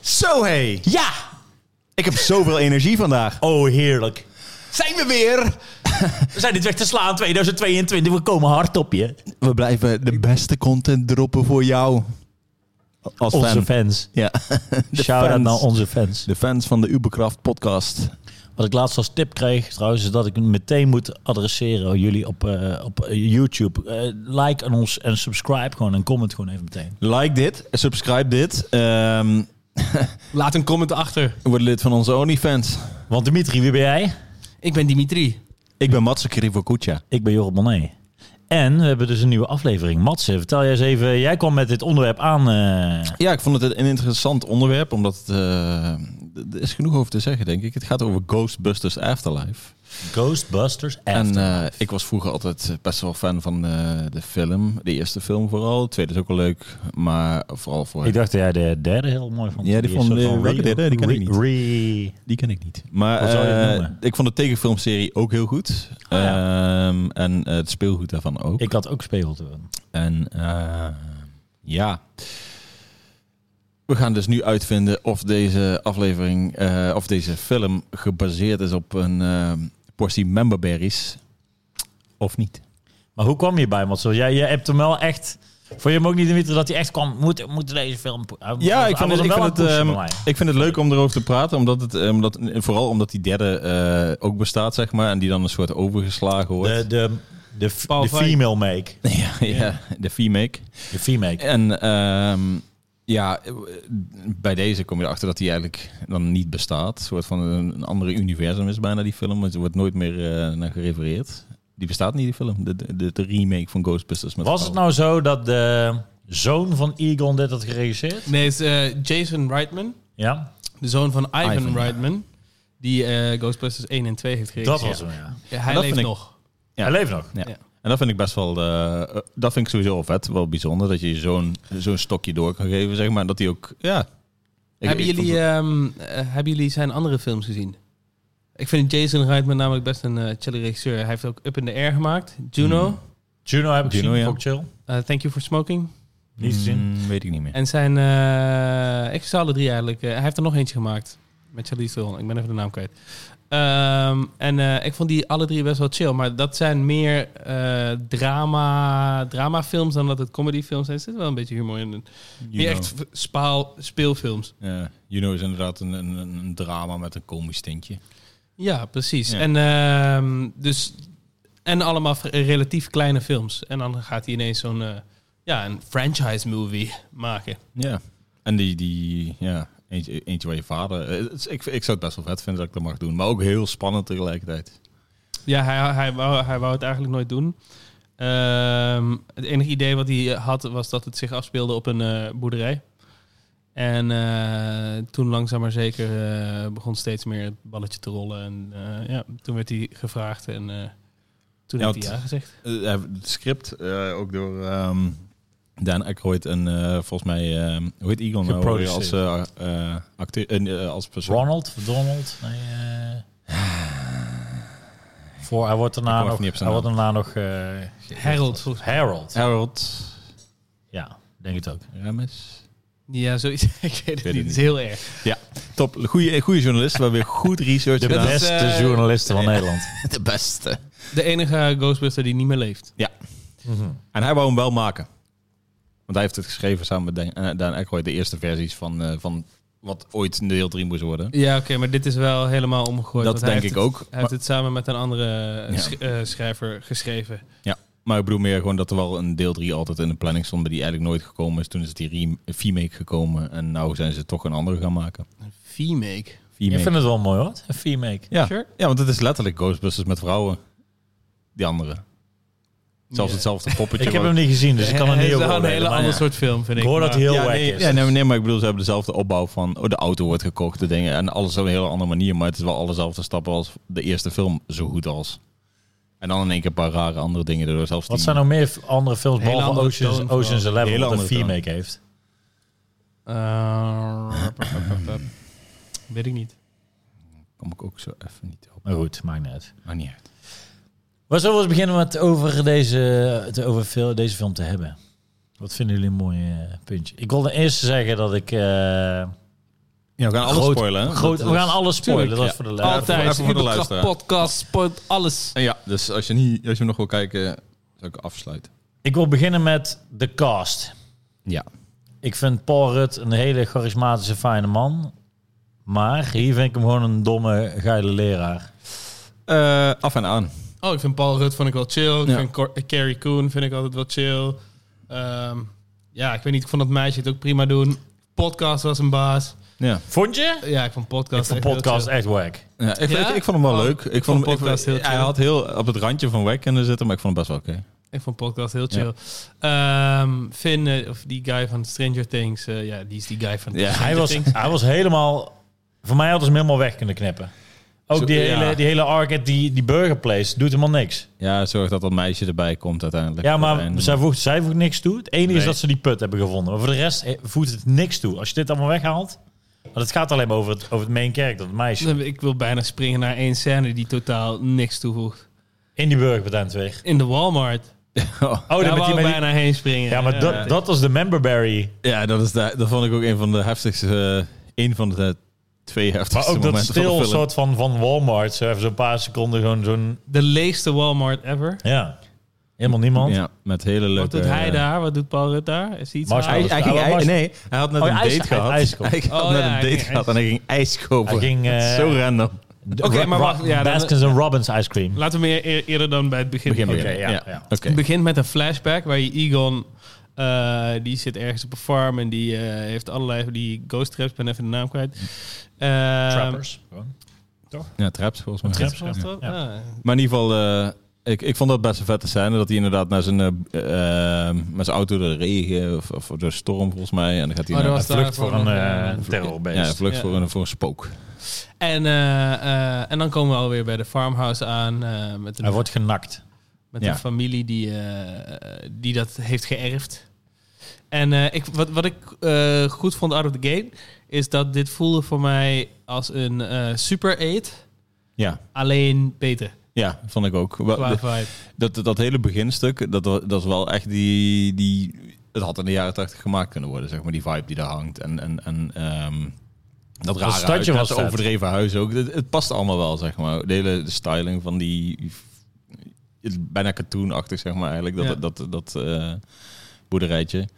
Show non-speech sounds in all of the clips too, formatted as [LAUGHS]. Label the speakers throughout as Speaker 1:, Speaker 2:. Speaker 1: Zo hé.
Speaker 2: Ja!
Speaker 1: Ik heb zoveel energie vandaag.
Speaker 2: Oh, heerlijk.
Speaker 1: Zijn we weer?
Speaker 2: [LAUGHS] We zijn dit weg te slaan 2022. We komen hard op je.
Speaker 1: We blijven de beste content droppen voor jou. Als
Speaker 2: Onze
Speaker 1: fan.
Speaker 2: fans.
Speaker 1: Ja. [LAUGHS] De
Speaker 2: Shout out
Speaker 1: fans.
Speaker 2: naar onze fans.
Speaker 1: De fans van de Uberkraft podcast.
Speaker 2: Wat ik laatst als tip kreeg trouwens, is dat ik meteen moet adresseren aan jullie op, eh, op eh, YouTube. Eh, like aan ons en subscribe gewoon en comment gewoon even meteen.
Speaker 1: Like dit, subscribe dit. Ehm [LAUGHS]
Speaker 3: Laat een comment achter.
Speaker 1: word lid van onze OnlyFans.
Speaker 2: Want Dimitri, wie ben jij?
Speaker 3: Ik ben Dimitri.
Speaker 1: Ik ben Matze Krivokucha.
Speaker 2: Ik ben Jorrit Monet. En we hebben dus een nieuwe aflevering. Matze, vertel jij eens even. Jij kwam met dit onderwerp aan. eh,
Speaker 1: Ja, ik vond het een interessant onderwerp, omdat het, eh, er is genoeg over te zeggen, denk ik. Het gaat over Ghostbusters Afterlife.
Speaker 2: Ghostbusters.
Speaker 1: En
Speaker 2: After.
Speaker 1: eh, ik was vroeger altijd best wel fan van eh, de film. De eerste film vooral. De tweede is ook wel leuk. Maar vooral voor...
Speaker 2: ik dacht dat jij de derde heel mooi vond.
Speaker 1: Ja, die
Speaker 2: is
Speaker 1: vond,
Speaker 2: soort van
Speaker 1: eh, welke
Speaker 2: re-
Speaker 1: derde? Die ken ik niet.
Speaker 2: re-
Speaker 1: Die ken ik niet. Maar
Speaker 2: Wat zou je het
Speaker 1: eh,
Speaker 2: noemen?
Speaker 1: ik vond de tekenfilmserie ook heel goed.
Speaker 2: Ah,
Speaker 1: Ehm, en eh, het speelgoed daarvan ook.
Speaker 2: Ik had ook speelgoed.
Speaker 1: En eh, ja. We gaan dus nu uitvinden of deze aflevering, eh, of deze film gebaseerd is op een eh, portie memberberries. Of niet.
Speaker 2: Maar hoe kwam je bij Matzo? Jij, jij hebt hem wel echt... Vond je hem ook niet, Dimitri, dat hij echt kwam... Moet, moet deze film... po- Hij-
Speaker 1: Ja,
Speaker 2: hij-
Speaker 1: ik vind,
Speaker 2: hij
Speaker 1: het,
Speaker 2: was
Speaker 1: ik,
Speaker 2: hem
Speaker 1: vind
Speaker 2: wel
Speaker 1: het, ehm,
Speaker 2: aan het pushen bij mij.
Speaker 1: ik vind het leuk om erover te praten. Omdat het, eh, omdat, vooral omdat die derde eh, ook bestaat, zeg maar. En die dan een soort overgeslagen wordt.
Speaker 2: De, de, de, f-
Speaker 3: Paul
Speaker 2: de
Speaker 3: Feig.
Speaker 2: female make.
Speaker 1: [LAUGHS] ja, ja, de remake.
Speaker 2: De female.
Speaker 1: En ehm, ja, bij deze kom je erachter dat die eigenlijk dan niet bestaat. Een soort van een, een andere universum is bijna die film. Het wordt nooit meer eh, naar gerefereerd. Die bestaat niet, die film. De, de, de remake van Ghostbusters. Met
Speaker 2: Was het nou zo dat de zoon van Egon dit had geregisseerd?
Speaker 3: Nee, het is eh, Jason Reitman.
Speaker 2: Ja,
Speaker 3: De zoon van Ivan,
Speaker 1: Ivan, ja.
Speaker 3: Reitman. Die eh, Ghostbusters 1 en 2 heeft
Speaker 2: dat
Speaker 3: geregisseerd.
Speaker 2: was hem, ja.
Speaker 3: Ja, hij
Speaker 1: Dat
Speaker 3: leeft
Speaker 1: vind ik-
Speaker 3: nog.
Speaker 1: Ja.
Speaker 2: Hij leeft nog.
Speaker 1: En dat vind ik best wel... eh, dat vind ik sowieso wel vet. Wel bijzonder dat je zo'n zo'n stokje door kan geven, zeg maar. En dat die ook... Ja. Ik-
Speaker 3: hebben,
Speaker 1: ik vond
Speaker 3: jullie,
Speaker 1: het-
Speaker 3: ehm, eh, hebben jullie zijn andere films gezien? Ik vind Jason Reitman namelijk best een eh chille regisseur. Hij heeft ook Up in the Air gemaakt. Juno.
Speaker 1: Mhm.
Speaker 2: Juno heb ik
Speaker 1: Juno,
Speaker 2: gezien,
Speaker 1: ja.
Speaker 2: vond ik chill.
Speaker 3: eh, Thank You for Smoking.
Speaker 2: Niet gezien.
Speaker 1: Mm, weet ik niet meer.
Speaker 3: eh, En zijn... eh ik ze alle drie eigenlijk. Eh, hij heeft er nog eentje gemaakt. Met Charlize Theron. Ik ben even de naam kwijt. Ehm, en eh, ik vond die alle drie best wel chill. Maar dat zijn meer eh, drama, dramafilms dan dat het comedyfilms zijn. Er zit wel een beetje humor in. Meer
Speaker 1: Juno.
Speaker 3: echt v- spaal, speelfilms.
Speaker 1: Ja, Juno is inderdaad een, een, een drama met een komisch tintje.
Speaker 3: Ja, precies.
Speaker 1: Ja.
Speaker 3: En, ehm, dus, en allemaal v- relatief kleine films. En dan gaat hij ineens zo'n... eh, ja, een franchise movie [LAUGHS] maken.
Speaker 1: Ja. En die, die ja, eentje, eentje waar je vader... eh, het is- Ik, ik zou het best wel vet vinden dat ik dat mag doen. Maar ook heel spannend tegelijkertijd.
Speaker 3: Ja, hij, hij, wou, hij wou het eigenlijk nooit doen. Ehm, het enige idee wat hij had was dat het zich afspeelde op een eh, boerderij. En eh, toen langzaam maar zeker eh, begon steeds meer het balletje te rollen. En eh, ja, toen werd hij gevraagd en eh, toen
Speaker 1: Ja, want-
Speaker 3: heeft hij ja gezegd.
Speaker 1: Eh, het script, eh, ook door ehm Dan Aykroyd en eh, volgens mij... ehm hoe heet Eagle nou? weer Als, eh, eh, acteur, en, eh, als persoon.
Speaker 2: Ronald, Donald. Nee, eh. voor, hij wordt
Speaker 1: Ik
Speaker 2: daarna
Speaker 1: kom
Speaker 2: nog...
Speaker 1: even niet op
Speaker 2: Hij
Speaker 1: zijn
Speaker 2: wordt daarna nog... eh,
Speaker 3: Harold, volgens
Speaker 2: Harold.
Speaker 1: Harold
Speaker 2: Ja, denk het ook.
Speaker 1: Ramis.
Speaker 3: Ja, zoiets. [LAUGHS] ik weet het niet.
Speaker 1: het
Speaker 3: Het
Speaker 1: niet.
Speaker 3: is heel erg.
Speaker 1: Top, goede journalist. We hebben weer goed research
Speaker 2: De
Speaker 1: gedaan.
Speaker 2: beste
Speaker 3: eh,
Speaker 2: journalisten van Nederland.
Speaker 1: De beste.
Speaker 3: De enige Ghostbuster die niet meer leeft.
Speaker 1: En hij wou hem wel maken. Want hij heeft het geschreven samen met Dan, eh, Dan Aykroyd, de eerste versies van, eh, van wat ooit een deel 3 moest worden.
Speaker 3: Ja, oké, maar dit is wel helemaal omgegooid.
Speaker 1: dat
Speaker 3: want hij
Speaker 1: denk ik
Speaker 3: heeft het-
Speaker 1: ook.
Speaker 3: Hij
Speaker 1: Maar,
Speaker 3: heeft het samen met een andere eh,
Speaker 1: Ja.
Speaker 3: sch- eh, schrijver geschreven.
Speaker 1: maar ik bedoel meer gewoon dat er wel een deel 3 altijd in de planning stond, maar die eigenlijk nooit gekomen is. Toen is die rem- remake gekomen en nou zijn ze toch een andere gaan maken.
Speaker 3: Femake.
Speaker 2: Ik
Speaker 1: Remake.
Speaker 2: vind het wel mooi hoor, een remake.
Speaker 1: Ja.
Speaker 3: Sure.
Speaker 1: ja, want het is letterlijk Ghostbusters met vrouwen. Die andere. Zelfs
Speaker 3: Ja.
Speaker 1: hetzelfde poppetje.
Speaker 2: Ik heb
Speaker 1: wat-
Speaker 2: hem niet gezien, dus ik kan er
Speaker 3: Het
Speaker 2: niet
Speaker 3: is
Speaker 2: over
Speaker 3: wel een hele
Speaker 2: oordelen, maar
Speaker 3: ander
Speaker 2: ja.
Speaker 3: soort film, vind
Speaker 2: Ik
Speaker 3: ik.
Speaker 2: hoor dat
Speaker 3: maar-
Speaker 2: hij heel
Speaker 3: ja,
Speaker 2: wack
Speaker 3: nee,
Speaker 2: is.
Speaker 1: Ja, nee, nee, maar ik bedoel, ze hebben dezelfde opbouw van oh, de auto wordt gekocht, de dingen en alles op een hele andere manier, maar het is wel allezelfde stappen als de eerste film, zo goed als. En dan in één keer een paar rare andere dingen erdoor. Zelfs
Speaker 2: Wat
Speaker 1: die-
Speaker 2: zijn nou meer f- andere films,
Speaker 3: Hele
Speaker 2: behalve
Speaker 3: andere
Speaker 2: Ocean's,
Speaker 3: toon
Speaker 2: Ocean's
Speaker 3: vooral.
Speaker 2: Eleven,
Speaker 1: Hele
Speaker 2: wat een
Speaker 1: andere toon.
Speaker 2: remake heeft?
Speaker 3: Eh, rap, rap, rap, rap. Weet ik niet.
Speaker 1: kom ik ook zo even niet op.
Speaker 2: Maar goed, maakt niet uit.
Speaker 1: Maar niet uit.
Speaker 2: We zullen we eens beginnen met over deze, te- over fil- deze film te hebben. Wat vinden jullie een mooi eh, puntje? Ik wilde eerst zeggen dat ik eh,
Speaker 1: Ja, we gaan alles
Speaker 2: Groot-
Speaker 1: spoilen. Hè?
Speaker 2: Groot,
Speaker 1: Dat
Speaker 2: we
Speaker 1: is-
Speaker 2: gaan alles spoilen.
Speaker 1: Tuurlijk,
Speaker 2: Dat was
Speaker 1: ja.
Speaker 2: voor de
Speaker 1: Ja,
Speaker 2: luisteraar.
Speaker 1: even- even
Speaker 3: Altijd.
Speaker 1: voor de luisteraar.
Speaker 3: podcast, spoilt alles.
Speaker 1: Ja, dus als je, niet, als je hem nog wil kijken, zou ik afsluiten.
Speaker 2: Ik wil beginnen met de cast.
Speaker 1: Ja.
Speaker 2: Ik vind Paul Rudd een hele charismatische, fijne man. Maar hier vind ik hem gewoon een domme, geile leraar.
Speaker 1: Eh, af en aan.
Speaker 3: Oh, ik vind Paul Rudd vond ik wel chill. Ik
Speaker 1: Ja.
Speaker 3: vind Cor- eh, Carrie Coon vind ik altijd wel chill. Ehm, ja, ik weet niet, ik vond dat meisje het ook prima doen. Podcast was een baas.
Speaker 1: Ja.
Speaker 2: Vond je?
Speaker 3: Ja, ik vond podcast
Speaker 2: Ik vond
Speaker 3: echt heel
Speaker 2: podcast
Speaker 3: chill.
Speaker 2: echt wack.
Speaker 1: Ja, ik,
Speaker 3: Ja?
Speaker 1: Ik, ik vond hem wel
Speaker 3: Oh,
Speaker 1: leuk. Ik
Speaker 3: vond
Speaker 1: vond hem, ik,
Speaker 3: podcast heel
Speaker 1: hij
Speaker 3: chill.
Speaker 1: had heel op het randje van weg kunnen zitten, maar ik vond hem best wel oké.
Speaker 3: Ik vond podcast heel chill. Ehm, Finn, eh, of die guy van Stranger Things. eh, ja, die is die guy van
Speaker 1: Ja.
Speaker 3: Stranger
Speaker 2: Hij was,
Speaker 3: Things.
Speaker 2: hij was helemaal... Voor mij hadden ze hem helemaal weg kunnen knippen.
Speaker 1: Zo-
Speaker 2: Ook die,
Speaker 1: ja.
Speaker 2: hele, die hele arcade, die, die burgerplace, doet helemaal niks.
Speaker 1: Ja, zorg dat dat meisje erbij komt uiteindelijk.
Speaker 2: Ja,
Speaker 1: En-
Speaker 2: maar zij voegt, zij voegt niks toe. Het enige is
Speaker 1: Nee.
Speaker 2: dat ze die put hebben gevonden. Maar voor de rest eh, voegt het niks toe. Als je dit allemaal weghaalt... Want het gaat alleen maar over het, over het main character, het meisje.
Speaker 3: Ik wil bijna springen naar één scène die totaal niks toevoegt.
Speaker 2: In die burgerpatentweg.
Speaker 3: In de Walmart.
Speaker 1: [LAUGHS]
Speaker 2: Oh,
Speaker 3: Oh,
Speaker 2: dan
Speaker 3: Daar
Speaker 2: met
Speaker 3: wou
Speaker 2: die,
Speaker 3: ik
Speaker 2: met die-
Speaker 3: bijna heen springen.
Speaker 2: Ja, maar dat, dat was de memberberry.
Speaker 1: Ja, dat, is de, dat vond ik ook een van de heftigste... eh, een van de twee
Speaker 2: Maar
Speaker 1: heftigste
Speaker 2: ook dat
Speaker 1: momenten van de
Speaker 2: stil
Speaker 1: film.
Speaker 2: soort van, van Walmart. Zo even zo'n paar seconden gewoon zo'n...
Speaker 3: De leegste Walmart ever.
Speaker 2: Ja, helemaal niemand.
Speaker 1: Ja, met hele leuke...
Speaker 3: Wat doet hij
Speaker 1: eh,
Speaker 3: daar? Wat doet Paul Rudd daar? Is hij iets
Speaker 2: Mars-
Speaker 3: aan?
Speaker 1: Hij, hij ging,
Speaker 2: Oh, was-
Speaker 1: ij- nee, hij had net
Speaker 2: Oh,
Speaker 1: een
Speaker 2: ijs-
Speaker 1: date gehad.
Speaker 2: ijs kopen.
Speaker 1: Hij had
Speaker 3: Oh,
Speaker 1: net
Speaker 3: ja,
Speaker 1: een
Speaker 3: hij
Speaker 1: date
Speaker 3: ging
Speaker 1: gehad en hij ging ijs kopen.
Speaker 2: Hij ging,
Speaker 1: Dat is
Speaker 2: eh,
Speaker 1: Zo random.
Speaker 3: Oké, maar wacht, ja, dan-
Speaker 2: Baskins en Robbins ice cream.
Speaker 3: Laten we meer eer- eerder dan bij het begin.
Speaker 1: Begin
Speaker 3: beginnen.
Speaker 1: beginnen.
Speaker 2: ja,
Speaker 1: ja.
Speaker 2: ja.
Speaker 1: Oké.
Speaker 3: Het begint met een flashback waar je Egon, eh, die zit ergens op een farm en die eh, heeft allerlei die ghost traps, ben even de naam kwijt. Eh,
Speaker 2: Trappers.
Speaker 1: Ja, traps volgens mij.
Speaker 2: Traps,
Speaker 3: was dat?
Speaker 2: Ja.
Speaker 3: Ah.
Speaker 1: Maar in ieder geval, eh, ik, ik vond dat best een vette scène. Dat hij inderdaad naar zijn, eh, eh, met zijn auto door de regen of, of door de storm volgens mij. En dan gaat hij
Speaker 3: Oh,
Speaker 1: naar,
Speaker 3: dat
Speaker 2: Hij
Speaker 3: was
Speaker 2: vlucht
Speaker 3: daarvoor
Speaker 2: voor een
Speaker 3: nog,
Speaker 2: eh,
Speaker 3: eh,
Speaker 1: ja,
Speaker 2: terrorbeest.
Speaker 1: vlucht
Speaker 3: Ja.
Speaker 1: Voor, een, voor een spook.
Speaker 3: En, eh, eh, en dan komen we alweer bij de farmhouse aan eh, met een
Speaker 2: Hij wordt genakt.
Speaker 3: Met
Speaker 1: Ja.
Speaker 3: een familie die, eh, die dat heeft geërfd. En eh, ik, wat, wat ik eh, goed vond out of the game... is dat dit voelde voor mij als een eh, Super 8.
Speaker 1: Ja.
Speaker 3: Alleen beter
Speaker 1: Ja, vond ik ook. Wel,
Speaker 3: qua
Speaker 1: Oh, de-
Speaker 3: vibe.
Speaker 1: Dat, dat hele beginstuk, dat, dat is wel echt die, die... Het had in de jaren 80 gemaakt kunnen worden, zeg maar. Die vibe die daar hangt. En, en, en ehm, dat rare
Speaker 2: stadje
Speaker 1: huis,
Speaker 2: was
Speaker 1: dat
Speaker 2: vet.
Speaker 1: overdreven huis ook. Het, het past allemaal wel, zeg maar. De hele styling van die... het Bijna cartoonachtig, zeg maar, eigenlijk. Dat,
Speaker 3: Ja.
Speaker 1: dat, dat, eh, boerderijtje.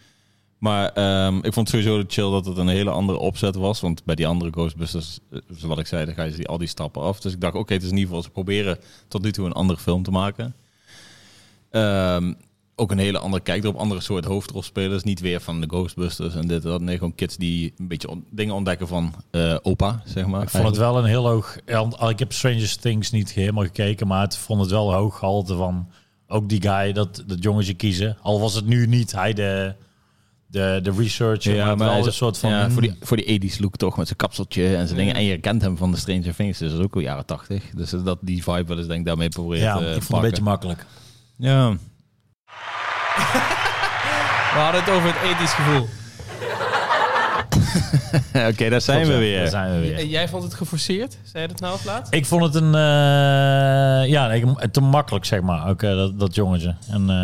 Speaker 1: Maar ehm, ik vond het sowieso chill dat het een hele andere opzet was. Want bij die andere Ghostbusters, eh, zoals ik zei, dan ga je die, al die stappen af. Dus ik dacht, oké, het is in ieder geval... Ze proberen tot nu toe een andere film te maken. Ehm, ook een hele andere kijk erop. Andere soort hoofdrolspelers. Niet weer van de Ghostbusters en dit en dat. Nee, gewoon kids die een beetje on- dingen ontdekken van eh, opa, zeg maar.
Speaker 2: Ik vond het wel een heel hoog... ja, Ik heb Stranger Things niet helemaal gekeken, maar het vond het wel een hoog gehalte van... Ook die guy, dat, dat jongetje kiezen. Al was het nu niet hij de, de, de researcher, maar, het wel
Speaker 1: hij is-
Speaker 2: een soort van... Mm.
Speaker 1: ja, voor, die, voor die 80s look toch, met zijn kapseltje en zijn dingen. En je kent hem van de Stranger Things, dus dat is ook al jaren 80. Dus dat, die vibe wel eens denk ik daarmee probeert
Speaker 2: ja,
Speaker 1: eh,
Speaker 2: ik vond het
Speaker 1: pakken.
Speaker 2: een beetje makkelijk.
Speaker 1: Ja,
Speaker 3: We hadden het over het ethisch gevoel.
Speaker 1: [LAUGHS] oké, daar zijn we
Speaker 2: Ja,
Speaker 1: weer.
Speaker 2: daar zijn we weer.
Speaker 3: En jij vond het geforceerd? Zei je dat nou op laat?
Speaker 2: Ik vond het een... eh, ja, nee, ik- te makkelijk, zeg maar. Ook eh, dat, dat jongetje. En, eh,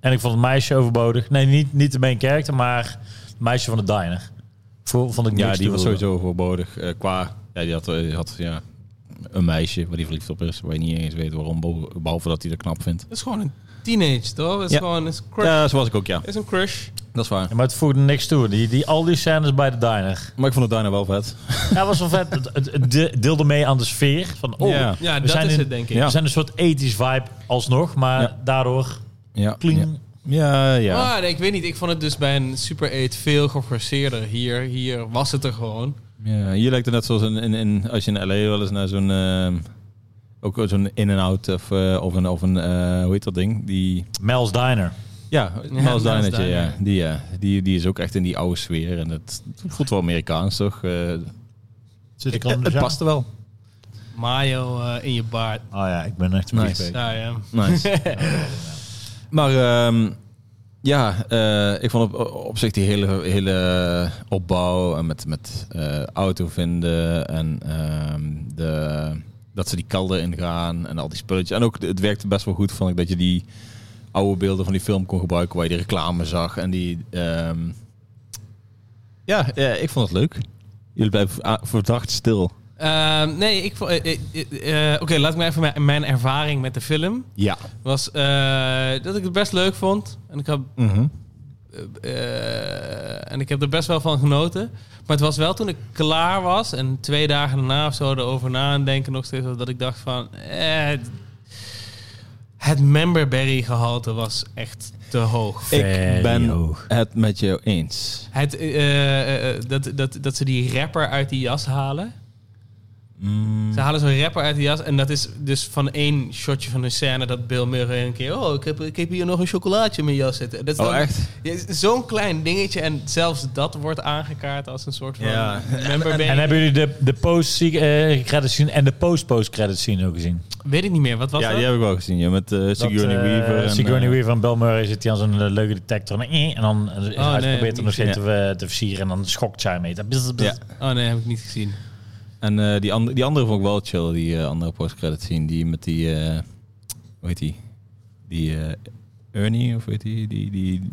Speaker 2: en ik vond het meisje overbodig. Nee, niet, niet de main character, maar het meisje van de diner. Vo- Vond ik
Speaker 1: Ja,
Speaker 2: niks
Speaker 1: die was
Speaker 2: toevoegen.
Speaker 1: sowieso voorbodig. eh, qua, ja, die had, eh, die had ja, een meisje waar die verliefd op is, waar je niet eens weet waarom, beho- behalve dat hij dat knap vindt.
Speaker 3: Het is gewoon een teenage, toch? Het is
Speaker 1: Ja.
Speaker 3: gewoon een crush.
Speaker 1: Ja, zo was ik ook, ja.
Speaker 3: Het is een crush.
Speaker 1: Dat is waar.
Speaker 2: Ja, maar het voegde niks toe. Die, die, al die scènes bij de diner.
Speaker 1: Maar ik vond het daarna wel vet.
Speaker 2: Ja, was wel vet. Het, het, het de- deelde mee aan de sfeer. Van, oh,
Speaker 1: Ja.
Speaker 3: Ja,
Speaker 2: we
Speaker 3: dat
Speaker 2: zijn
Speaker 3: is
Speaker 2: in-
Speaker 3: het, denk ik.
Speaker 1: Ja.
Speaker 2: We zijn een soort ethisch vibe alsnog, maar
Speaker 1: Ja.
Speaker 2: daardoor
Speaker 1: Ja. Ah.
Speaker 2: kling.
Speaker 1: Ja, ja.
Speaker 3: Maar nee, ik weet niet. Ik vond het dus bij een Super 8 veel geforceerder. Hier, hier was het er gewoon.
Speaker 1: ja. Hier lijkt het net zoals in, in, in- als je in LA wel eens naar zo'n... ehm, ook zo'n in-en-out of, eh, of een, of een eh, hoe heet dat ding? Die,
Speaker 2: Mel's Diner.
Speaker 1: ja,
Speaker 3: Miles
Speaker 1: Miles Dinertje,
Speaker 3: Diner.
Speaker 1: ja. Die, ja. Die, die is ook echt in die oude sfeer. En het voelt wel Amerikaans, toch? Eh,
Speaker 2: Zit ik
Speaker 1: het paste wel.
Speaker 3: Mayo eh, in je baard.
Speaker 2: Oh ja, ik ben echt een
Speaker 1: Nice.
Speaker 2: viesbeek.
Speaker 3: Nou ja.
Speaker 1: [LAUGHS] Nice. maar ehm, ja, eh, ik vond op, op zich die hele, hele opbouw en met, met eh, auto vinden en ehm, de, dat ze die kelder ingaan en al die spulletjes. En ook de- het werkte best wel goed, vond ik, dat je die oude beelden van die film kon gebruiken waar je de reclame zag en die... ehm, ja, ja, eh, ik vond het leuk. Jullie blijven a- verdacht stil.
Speaker 3: Ehm, nee, ik vond- eh, eh, eh, eh, Oké, laat ik maar even mijn, mijn ervaring met de film.
Speaker 1: Ja.
Speaker 3: Was eh, dat ik het best leuk vond. En ik, heb,
Speaker 1: Mhm.
Speaker 3: eh, en ik heb er best wel van genoten. Maar het was wel toen ik klaar was. En twee dagen daarna of zo erover na en denken nog steeds. Dat ik dacht van... eh, het- het memberberry gehalte was echt te hoog.
Speaker 1: Ik
Speaker 2: Very
Speaker 1: ben
Speaker 2: hoog.
Speaker 1: het met jou eens.
Speaker 3: Het, eh, eh, dat, dat, dat ze die rapper uit die jas halen.
Speaker 1: Mm.
Speaker 3: Ze halen zo'n rapper uit de jas. En dat is dus van één shotje van een scène dat Bill Murray een keer... Oh, ik heb, ik heb hier nog een chocolaatje in mijn jas zitten. Dat is
Speaker 1: Oh,
Speaker 3: dan-
Speaker 1: echt?
Speaker 3: Ja, is Zo'n klein dingetje. En zelfs dat wordt aangekaart als een soort van...
Speaker 1: Ja.
Speaker 3: member
Speaker 2: En
Speaker 3: ben
Speaker 2: hebben jullie de, de post-credits zien en de post-post-credits zien ook gezien?
Speaker 3: Weet ik niet meer. Wat was
Speaker 1: Ja,
Speaker 3: dat?
Speaker 1: die heb ik wel gezien. Ja, met eh Sigourney
Speaker 2: Dat, eh,
Speaker 1: Weaver. en,
Speaker 2: Sigourney
Speaker 1: eh,
Speaker 2: Weaver en Bill Murray zit hij aan zo'n eh, leuke detector. En, eh, en dan eh,
Speaker 3: Oh, nee,
Speaker 2: hij probeert
Speaker 3: niet
Speaker 2: er nog steeds te, eh, te versieren. En dan schokt zij mee. Dat bzz, bzz.
Speaker 1: Ja.
Speaker 3: Oh nee, heb ik niet gezien.
Speaker 1: En eh, die, andere, die andere vond ik wel chill, die eh, andere postcredit scene. Die met die, eh, hoe heet die? Die eh, Ernie, of weet die, die, die?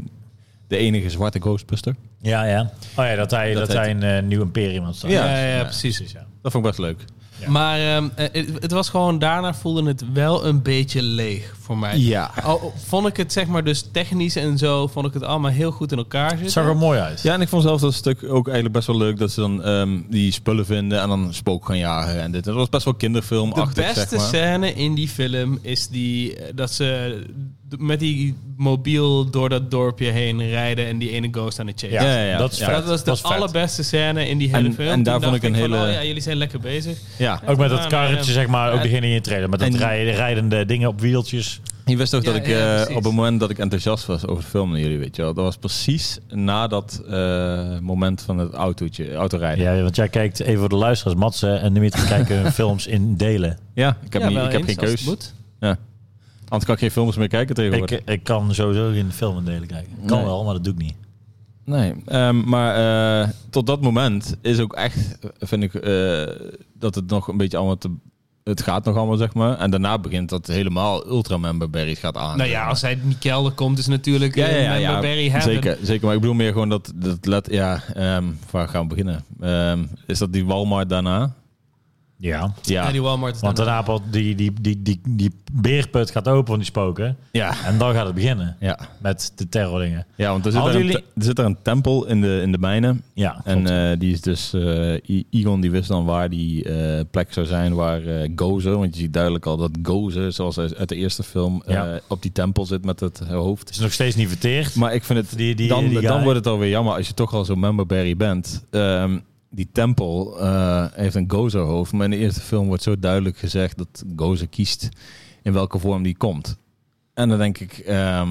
Speaker 1: De enige zwarte Ghostbuster.
Speaker 2: ja, ja. Oh ja, dat hij,
Speaker 1: Dat
Speaker 2: dat hij een eh, nieuw imperium had staan.
Speaker 1: Ja.
Speaker 3: Ja, ja,
Speaker 1: ja.
Speaker 3: precies.
Speaker 2: Precies, ja.
Speaker 1: Dat vond ik best leuk.
Speaker 2: Ja.
Speaker 3: Maar ehm, eh, het, het was gewoon... Daarna voelde het wel een beetje leeg voor mij.
Speaker 1: Ja.
Speaker 3: Al vond ik het zeg maar dus technisch en zo... vond ik het allemaal heel goed in elkaar zitten.
Speaker 2: Het zag er mooi uit.
Speaker 1: Ja, en ik vond zelf dat stuk ook eigenlijk best wel leuk dat ze dan ehm, die spullen vinden en dan spook gaan jagen. En dit. Dat was best wel
Speaker 3: De
Speaker 1: kinderfilmachtig,
Speaker 3: beste
Speaker 1: zeg maar.
Speaker 3: scène in die film is die eh, dat ze d- met die mobiel door dat dorpje heen rijden en die ene ghost aan het chasen. Dus
Speaker 2: Ja,
Speaker 1: Ja, ja, ja.
Speaker 2: dat is
Speaker 1: Ja.
Speaker 2: vet.
Speaker 3: Dat was de
Speaker 2: Dat is vet.
Speaker 3: allerbeste scène in die hele
Speaker 1: En-
Speaker 3: film.
Speaker 1: en
Speaker 3: Toen
Speaker 1: daar vond
Speaker 3: dacht
Speaker 1: ik een
Speaker 3: van,
Speaker 1: hele-
Speaker 3: oh ja, jullie zijn lekker bezig.
Speaker 1: Ja.
Speaker 2: Ook met dat
Speaker 3: Ja,
Speaker 2: karretje,
Speaker 3: ja.
Speaker 2: zeg maar. Ook
Speaker 3: Ja.
Speaker 2: degene in je trailer. Met dat
Speaker 1: En-
Speaker 2: rij- rijdende dingen op wieltjes.
Speaker 1: Je wist toch
Speaker 3: Ja,
Speaker 1: dat ik
Speaker 3: ja,
Speaker 1: eh,
Speaker 3: precies.
Speaker 1: op het moment dat ik enthousiast was over de film naar jullie, weet je wel. Dat was precies na dat eh, moment van het autootje, autorijden.
Speaker 2: Ja, want jij kijkt even voor de luisteraars. Matze en Dimitri
Speaker 1: [LAUGHS]
Speaker 2: kijken films in delen.
Speaker 1: Ja, ik heb,
Speaker 3: Ja,
Speaker 1: niet,
Speaker 3: wel
Speaker 1: ik heb
Speaker 3: eens,
Speaker 1: geen
Speaker 3: als het
Speaker 1: keus.
Speaker 3: moet.
Speaker 1: Anders kan ik geen films meer kijken
Speaker 2: Ik,
Speaker 1: tegenwoordig.
Speaker 2: ik kan sowieso geen film in delen kijken. Kan
Speaker 1: Nee.
Speaker 2: wel, maar dat doe ik niet.
Speaker 1: nee, ehm, maar eh, tot dat moment is ook echt, eh, vind ik, eh, dat het nog een beetje allemaal te... Het gaat nog allemaal, zeg maar. En daarna begint dat helemaal Ultraman Barbaries gaat aan.
Speaker 3: Nou ja, als hij niet kelder komt is natuurlijk eh,
Speaker 1: Ja, ja, ja, ja,
Speaker 3: Barry Heaven.
Speaker 1: Zeker, zeker. Maar ik bedoel meer gewoon dat... dat let, ja, ehm, waar gaan we beginnen? Ehm, is dat die Walmart daarna?
Speaker 2: Ja.
Speaker 3: Ja,
Speaker 1: Ja.
Speaker 3: die Walmart. is
Speaker 2: Want
Speaker 3: dan-
Speaker 2: daarna pot- die, die, die, die, die beerput gaat open van die spoken.
Speaker 1: Ja.
Speaker 2: En dan gaat het beginnen
Speaker 1: Ja,
Speaker 2: met de terrordingen.
Speaker 1: ja want er zit, daar
Speaker 2: Hadden
Speaker 1: een,
Speaker 2: jullie-
Speaker 1: te- er zit daar een tempel in de, in de mijnen.
Speaker 2: Ja, klopt.
Speaker 1: En eh, die is dus, eh, I- Igon die wist dan waar die eh, plek zou zijn waar eh, Gozer, want je ziet duidelijk al dat Gozer, zoals uit uit de eerste film, eh,
Speaker 2: Ja.
Speaker 1: op die tempel zit met het hoofd.
Speaker 2: het is nog steeds niet verteerd.
Speaker 1: Maar ik vind het,
Speaker 2: Die- die-
Speaker 1: dan,
Speaker 2: die
Speaker 1: dan
Speaker 2: guy.
Speaker 1: wordt het alweer jammer als je toch al zo'n memberberry bent. Ehm, die tempel eh, heeft een Gozer hoofd, maar in de eerste film wordt zo duidelijk gezegd dat Gozer kiest in welke vorm die komt. En dan denk ik, ehm,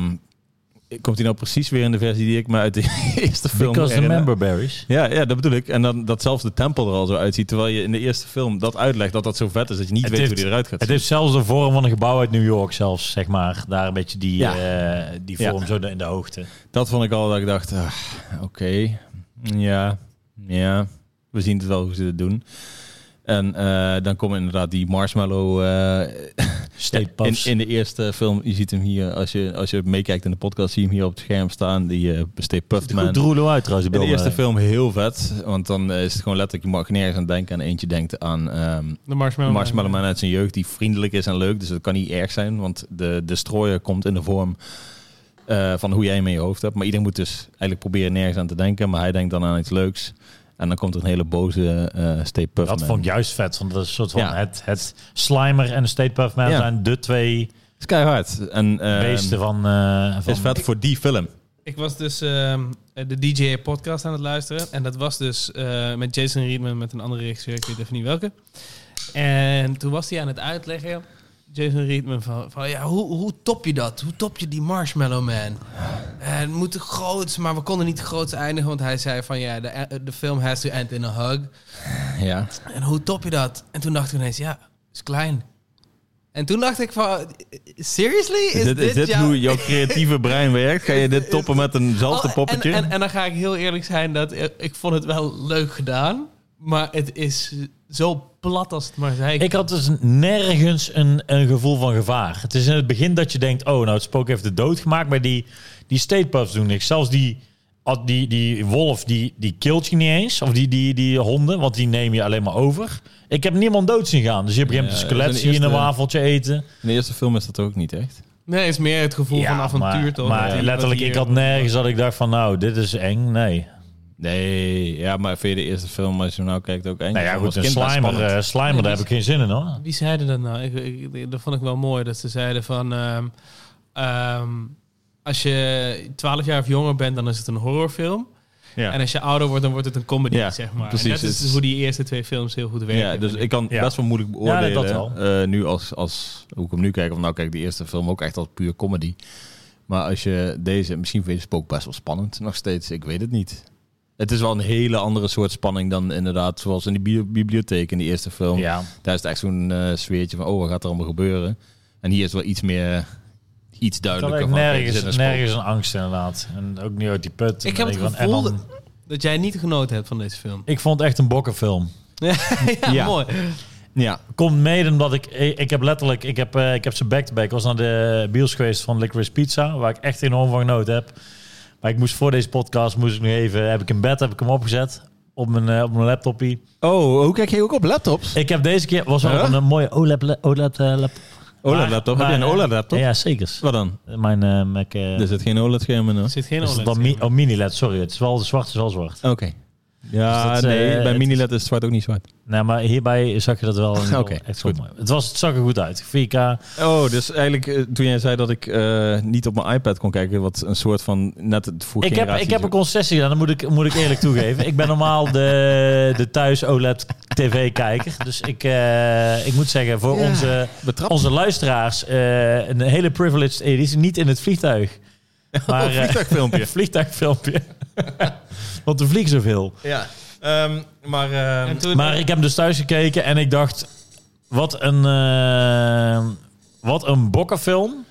Speaker 1: komt hij nou precies weer in de versie die ik me uit de [LAUGHS] eerste film
Speaker 2: Because the
Speaker 1: herinner?
Speaker 2: member berries.
Speaker 1: Ja, ja, dat bedoel ik. En dan dat zelfs de tempel er al zo uitziet. Terwijl je in de eerste film dat uitlegt dat dat zo vet is dat je niet
Speaker 2: Het
Speaker 1: weet
Speaker 2: heeft-
Speaker 1: hoe die eruit gaat
Speaker 2: Het
Speaker 1: zien.
Speaker 2: heeft zelfs de vorm van een gebouw uit New York zelfs, zeg maar. Daar een beetje die,
Speaker 1: Ja.
Speaker 2: eh, die
Speaker 1: Ja.
Speaker 2: vorm zo in de hoogte.
Speaker 1: Dat vond ik al dat ik dacht, ah, oké, ja, ja, we zien het wel hoe ze het doen. En eh, dan komen inderdaad die marshmallow eh,
Speaker 2: State
Speaker 1: in,
Speaker 2: puffs.
Speaker 1: in de eerste film. Je ziet hem hier, als je, als je meekijkt in de podcast, zie je hem hier op het scherm staan. Die eh Stay Puffed
Speaker 2: Goed eh?
Speaker 1: Man.
Speaker 2: droelo uit trouwens.
Speaker 1: In de
Speaker 2: Bill
Speaker 1: eerste
Speaker 2: Murray.
Speaker 1: film heel vet, want dan eh, is het gewoon letterlijk, je mag nergens aan denken. En eentje denkt aan ehm,
Speaker 3: de Marshmallow,
Speaker 1: Marshmallow Man uit zijn jeugd die vriendelijk is en leuk. Dus dat kan niet erg zijn, want de destroyer komt in de vorm eh, van hoe jij hem in je hoofd hebt. Maar iedereen moet dus eigenlijk proberen nergens aan te denken. Maar hij denkt dan aan iets leuks. En dan komt er een hele boze eh Stay Puft
Speaker 2: Dat
Speaker 1: Man.
Speaker 2: vond ik juist vet. Want dat is een soort van
Speaker 1: Ja.
Speaker 2: het, het Slimer en de State Puff Man
Speaker 1: Ja.
Speaker 2: zijn de twee
Speaker 1: Sky Hard. En eh,
Speaker 2: beesten van, eh van...
Speaker 1: is vet voor die film.
Speaker 3: Ik was dus ehm, de DJ podcast aan het luisteren. En dat was dus eh, met Jason Reedman, met een andere regisseur, ik weet even niet welke. En toen was hij aan het uitleggen, Jason Reedman, van, van ja, hoe, hoe top je dat? Hoe top je die Marshmallow Man? En het moet groots, maar we konden niet groots eindigen, want hij zei van ja, de, de film has to end in a hug.
Speaker 1: Ja.
Speaker 3: En hoe top je dat? En toen dacht ik ineens, ja, is klein. En toen dacht ik van, seriously? Is,
Speaker 1: Is dit, is dit
Speaker 3: jouw-
Speaker 1: hoe jouw creatieve brein werkt? Ga je [LAUGHS] dit toppen met eenzelfde
Speaker 3: Oh,
Speaker 1: poppetje?
Speaker 3: En, en, en dan ga ik heel eerlijk zijn dat eh, ik vond het wel leuk gedaan. Maar het is zo plat als het maar zijn.
Speaker 2: Ik had dus nergens een, een gevoel van gevaar. Het is in het begin dat je denkt, oh, nou, het spook heeft de dood gemaakt. Maar die, die state puffs doen niks. Zelfs die als die, die wolf die, die kilt je niet eens. Of die, die, die honden, want die neem je alleen maar over. Ik heb niemand dood zien gaan. Dus je begint
Speaker 1: Ja,
Speaker 2: een
Speaker 1: dat
Speaker 2: skelet
Speaker 1: is een
Speaker 2: zien en een
Speaker 1: eerste-
Speaker 2: wafeltje eten.
Speaker 1: In de eerste film is dat ook niet echt.
Speaker 3: Nee, het is meer het gevoel van avontuur
Speaker 2: maar,
Speaker 3: toch?
Speaker 2: maar
Speaker 3: Dat die-
Speaker 2: letterlijk,
Speaker 3: dat
Speaker 2: ik
Speaker 3: die-
Speaker 2: had nergens dat ik dacht van nou, dit is eng. Nee.
Speaker 1: Nee, ja, maar vind je de eerste film, als je hem nou kijkt, ook eng?
Speaker 2: Nou ja,
Speaker 1: Als
Speaker 2: goed, een
Speaker 1: kind was
Speaker 2: slimer,
Speaker 1: spannend.
Speaker 2: eh, slimer daar heb ik geen zin in hoor.
Speaker 3: Wie zeiden dat nou? Ik, ik- dat vond ik wel mooi. Dat ze zeiden van... ehm, ehm, als je 12 jaar of jonger bent, dan is het een horrorfilm.
Speaker 1: Ja.
Speaker 3: En als je ouder wordt, dan wordt het een comedy,
Speaker 1: Ja,
Speaker 3: zeg maar.
Speaker 1: precies.
Speaker 3: en dat is dus
Speaker 1: Het-
Speaker 3: hoe die eerste twee films heel goed werken.
Speaker 1: Ja, dus ik kan
Speaker 2: Ja.
Speaker 1: best wel moeilijk beoordelen.
Speaker 2: dat wel.
Speaker 1: eh, nu als, als, hoe ik hem nu kijk, of nou kijk ik de eerste film ook echt als puur comedy. Maar als je deze, misschien vind je Spook best wel spannend nog steeds. Ik weet het niet. Het is wel een hele andere soort spanning dan inderdaad, zoals in die bi- bibliotheek in die eerste film.
Speaker 2: Ja.
Speaker 1: Daar is het echt zo'n eh, sfeertje van, oh, wat gaat er allemaal gebeuren? En hier is wel iets meer, iets
Speaker 2: Ik had
Speaker 1: duidelijker.
Speaker 2: echt
Speaker 1: van, oké, er zit een
Speaker 2: nergens,
Speaker 1: spook.
Speaker 2: nergens een angst inderdaad. En ook niet uit die put. En
Speaker 3: Ik
Speaker 2: dan
Speaker 3: heb het
Speaker 2: denk ik
Speaker 3: gevoel
Speaker 2: van, en dan-
Speaker 3: Dat jij niet genoten hebt van deze film. [LAUGHS]
Speaker 2: ik vond het echt een bokkenfilm.
Speaker 3: ja,
Speaker 1: Ja.
Speaker 3: mooi.
Speaker 1: Ja,
Speaker 2: Komt mede omdat ik, ik heb letterlijk, ik heb, eh, ik heb ze back-to-back. Ik was naar de bios geweest van Licorice Pizza, waar ik echt enorm van genoten heb. Maar ik moest voor deze podcast, moest ik nog even, heb ik in bed, heb ik hem opgezet op mijn, eh, op mijn laptopie.
Speaker 1: Oh, hoe kijk je ook op laptops?
Speaker 2: Ik heb deze keer, was wel
Speaker 1: Huh?
Speaker 2: een, eh, mooie OLED, le- OLED eh, laptop.
Speaker 1: OLED
Speaker 2: Maar-
Speaker 1: laptop?
Speaker 2: maar,
Speaker 1: Heb je een
Speaker 2: eh,
Speaker 1: OLED laptop?
Speaker 2: Ja, zeker.
Speaker 1: Wat dan?
Speaker 2: Mijn eh Mac, eh,
Speaker 1: Er
Speaker 2: is
Speaker 1: zit geen OLED scherm in hoor.
Speaker 3: Er zit geen
Speaker 1: E
Speaker 2: het
Speaker 3: OLED
Speaker 2: dan mi-
Speaker 3: in.
Speaker 2: oh, mini-LED, sorry. Het is wel zwart, het is wel zwart.
Speaker 1: Oké. Ja,
Speaker 2: Dus dat, eh,
Speaker 1: nee, bij
Speaker 2: het
Speaker 1: Miniled is zwart ook niet zwart.
Speaker 2: Nou, maar hierbij zag je
Speaker 1: [LAUGHS]
Speaker 2: dat wel
Speaker 1: Oké,
Speaker 2: Oké, echt wel
Speaker 1: goed.
Speaker 2: mooi. Het, was, het zag er goed uit. 4K.
Speaker 1: Oh, dus eigenlijk eh, toen jij zei dat ik eh, niet op mijn iPad kon kijken, wat een soort van net het voor
Speaker 2: Ik heb,
Speaker 1: generatie
Speaker 2: ik heb een
Speaker 1: zo-
Speaker 2: concessie gedaan, dat moet ik, moet ik eerlijk toegeven. Ik ben normaal de, de thuis E OLED TV-kijker. Dus ik, eh, ik moet zeggen, voor
Speaker 1: Ja.
Speaker 2: onze,
Speaker 1: betrapt.
Speaker 2: onze luisteraars, eh, een hele privileged editie. Niet in het [LAUGHS] vliegtuig. Maar,
Speaker 1: Oh,
Speaker 2: eh,
Speaker 1: vliegtuigfilmpje.
Speaker 2: [LAUGHS] Een vliegtuigfilmpje. [LAUGHS] Want er vliegen zoveel.
Speaker 1: ja. maar
Speaker 3: En toen-
Speaker 2: Ehm, Maar ik heb dus thuis gekeken en ik dacht, wat een, eh, wat een bokkenfilm.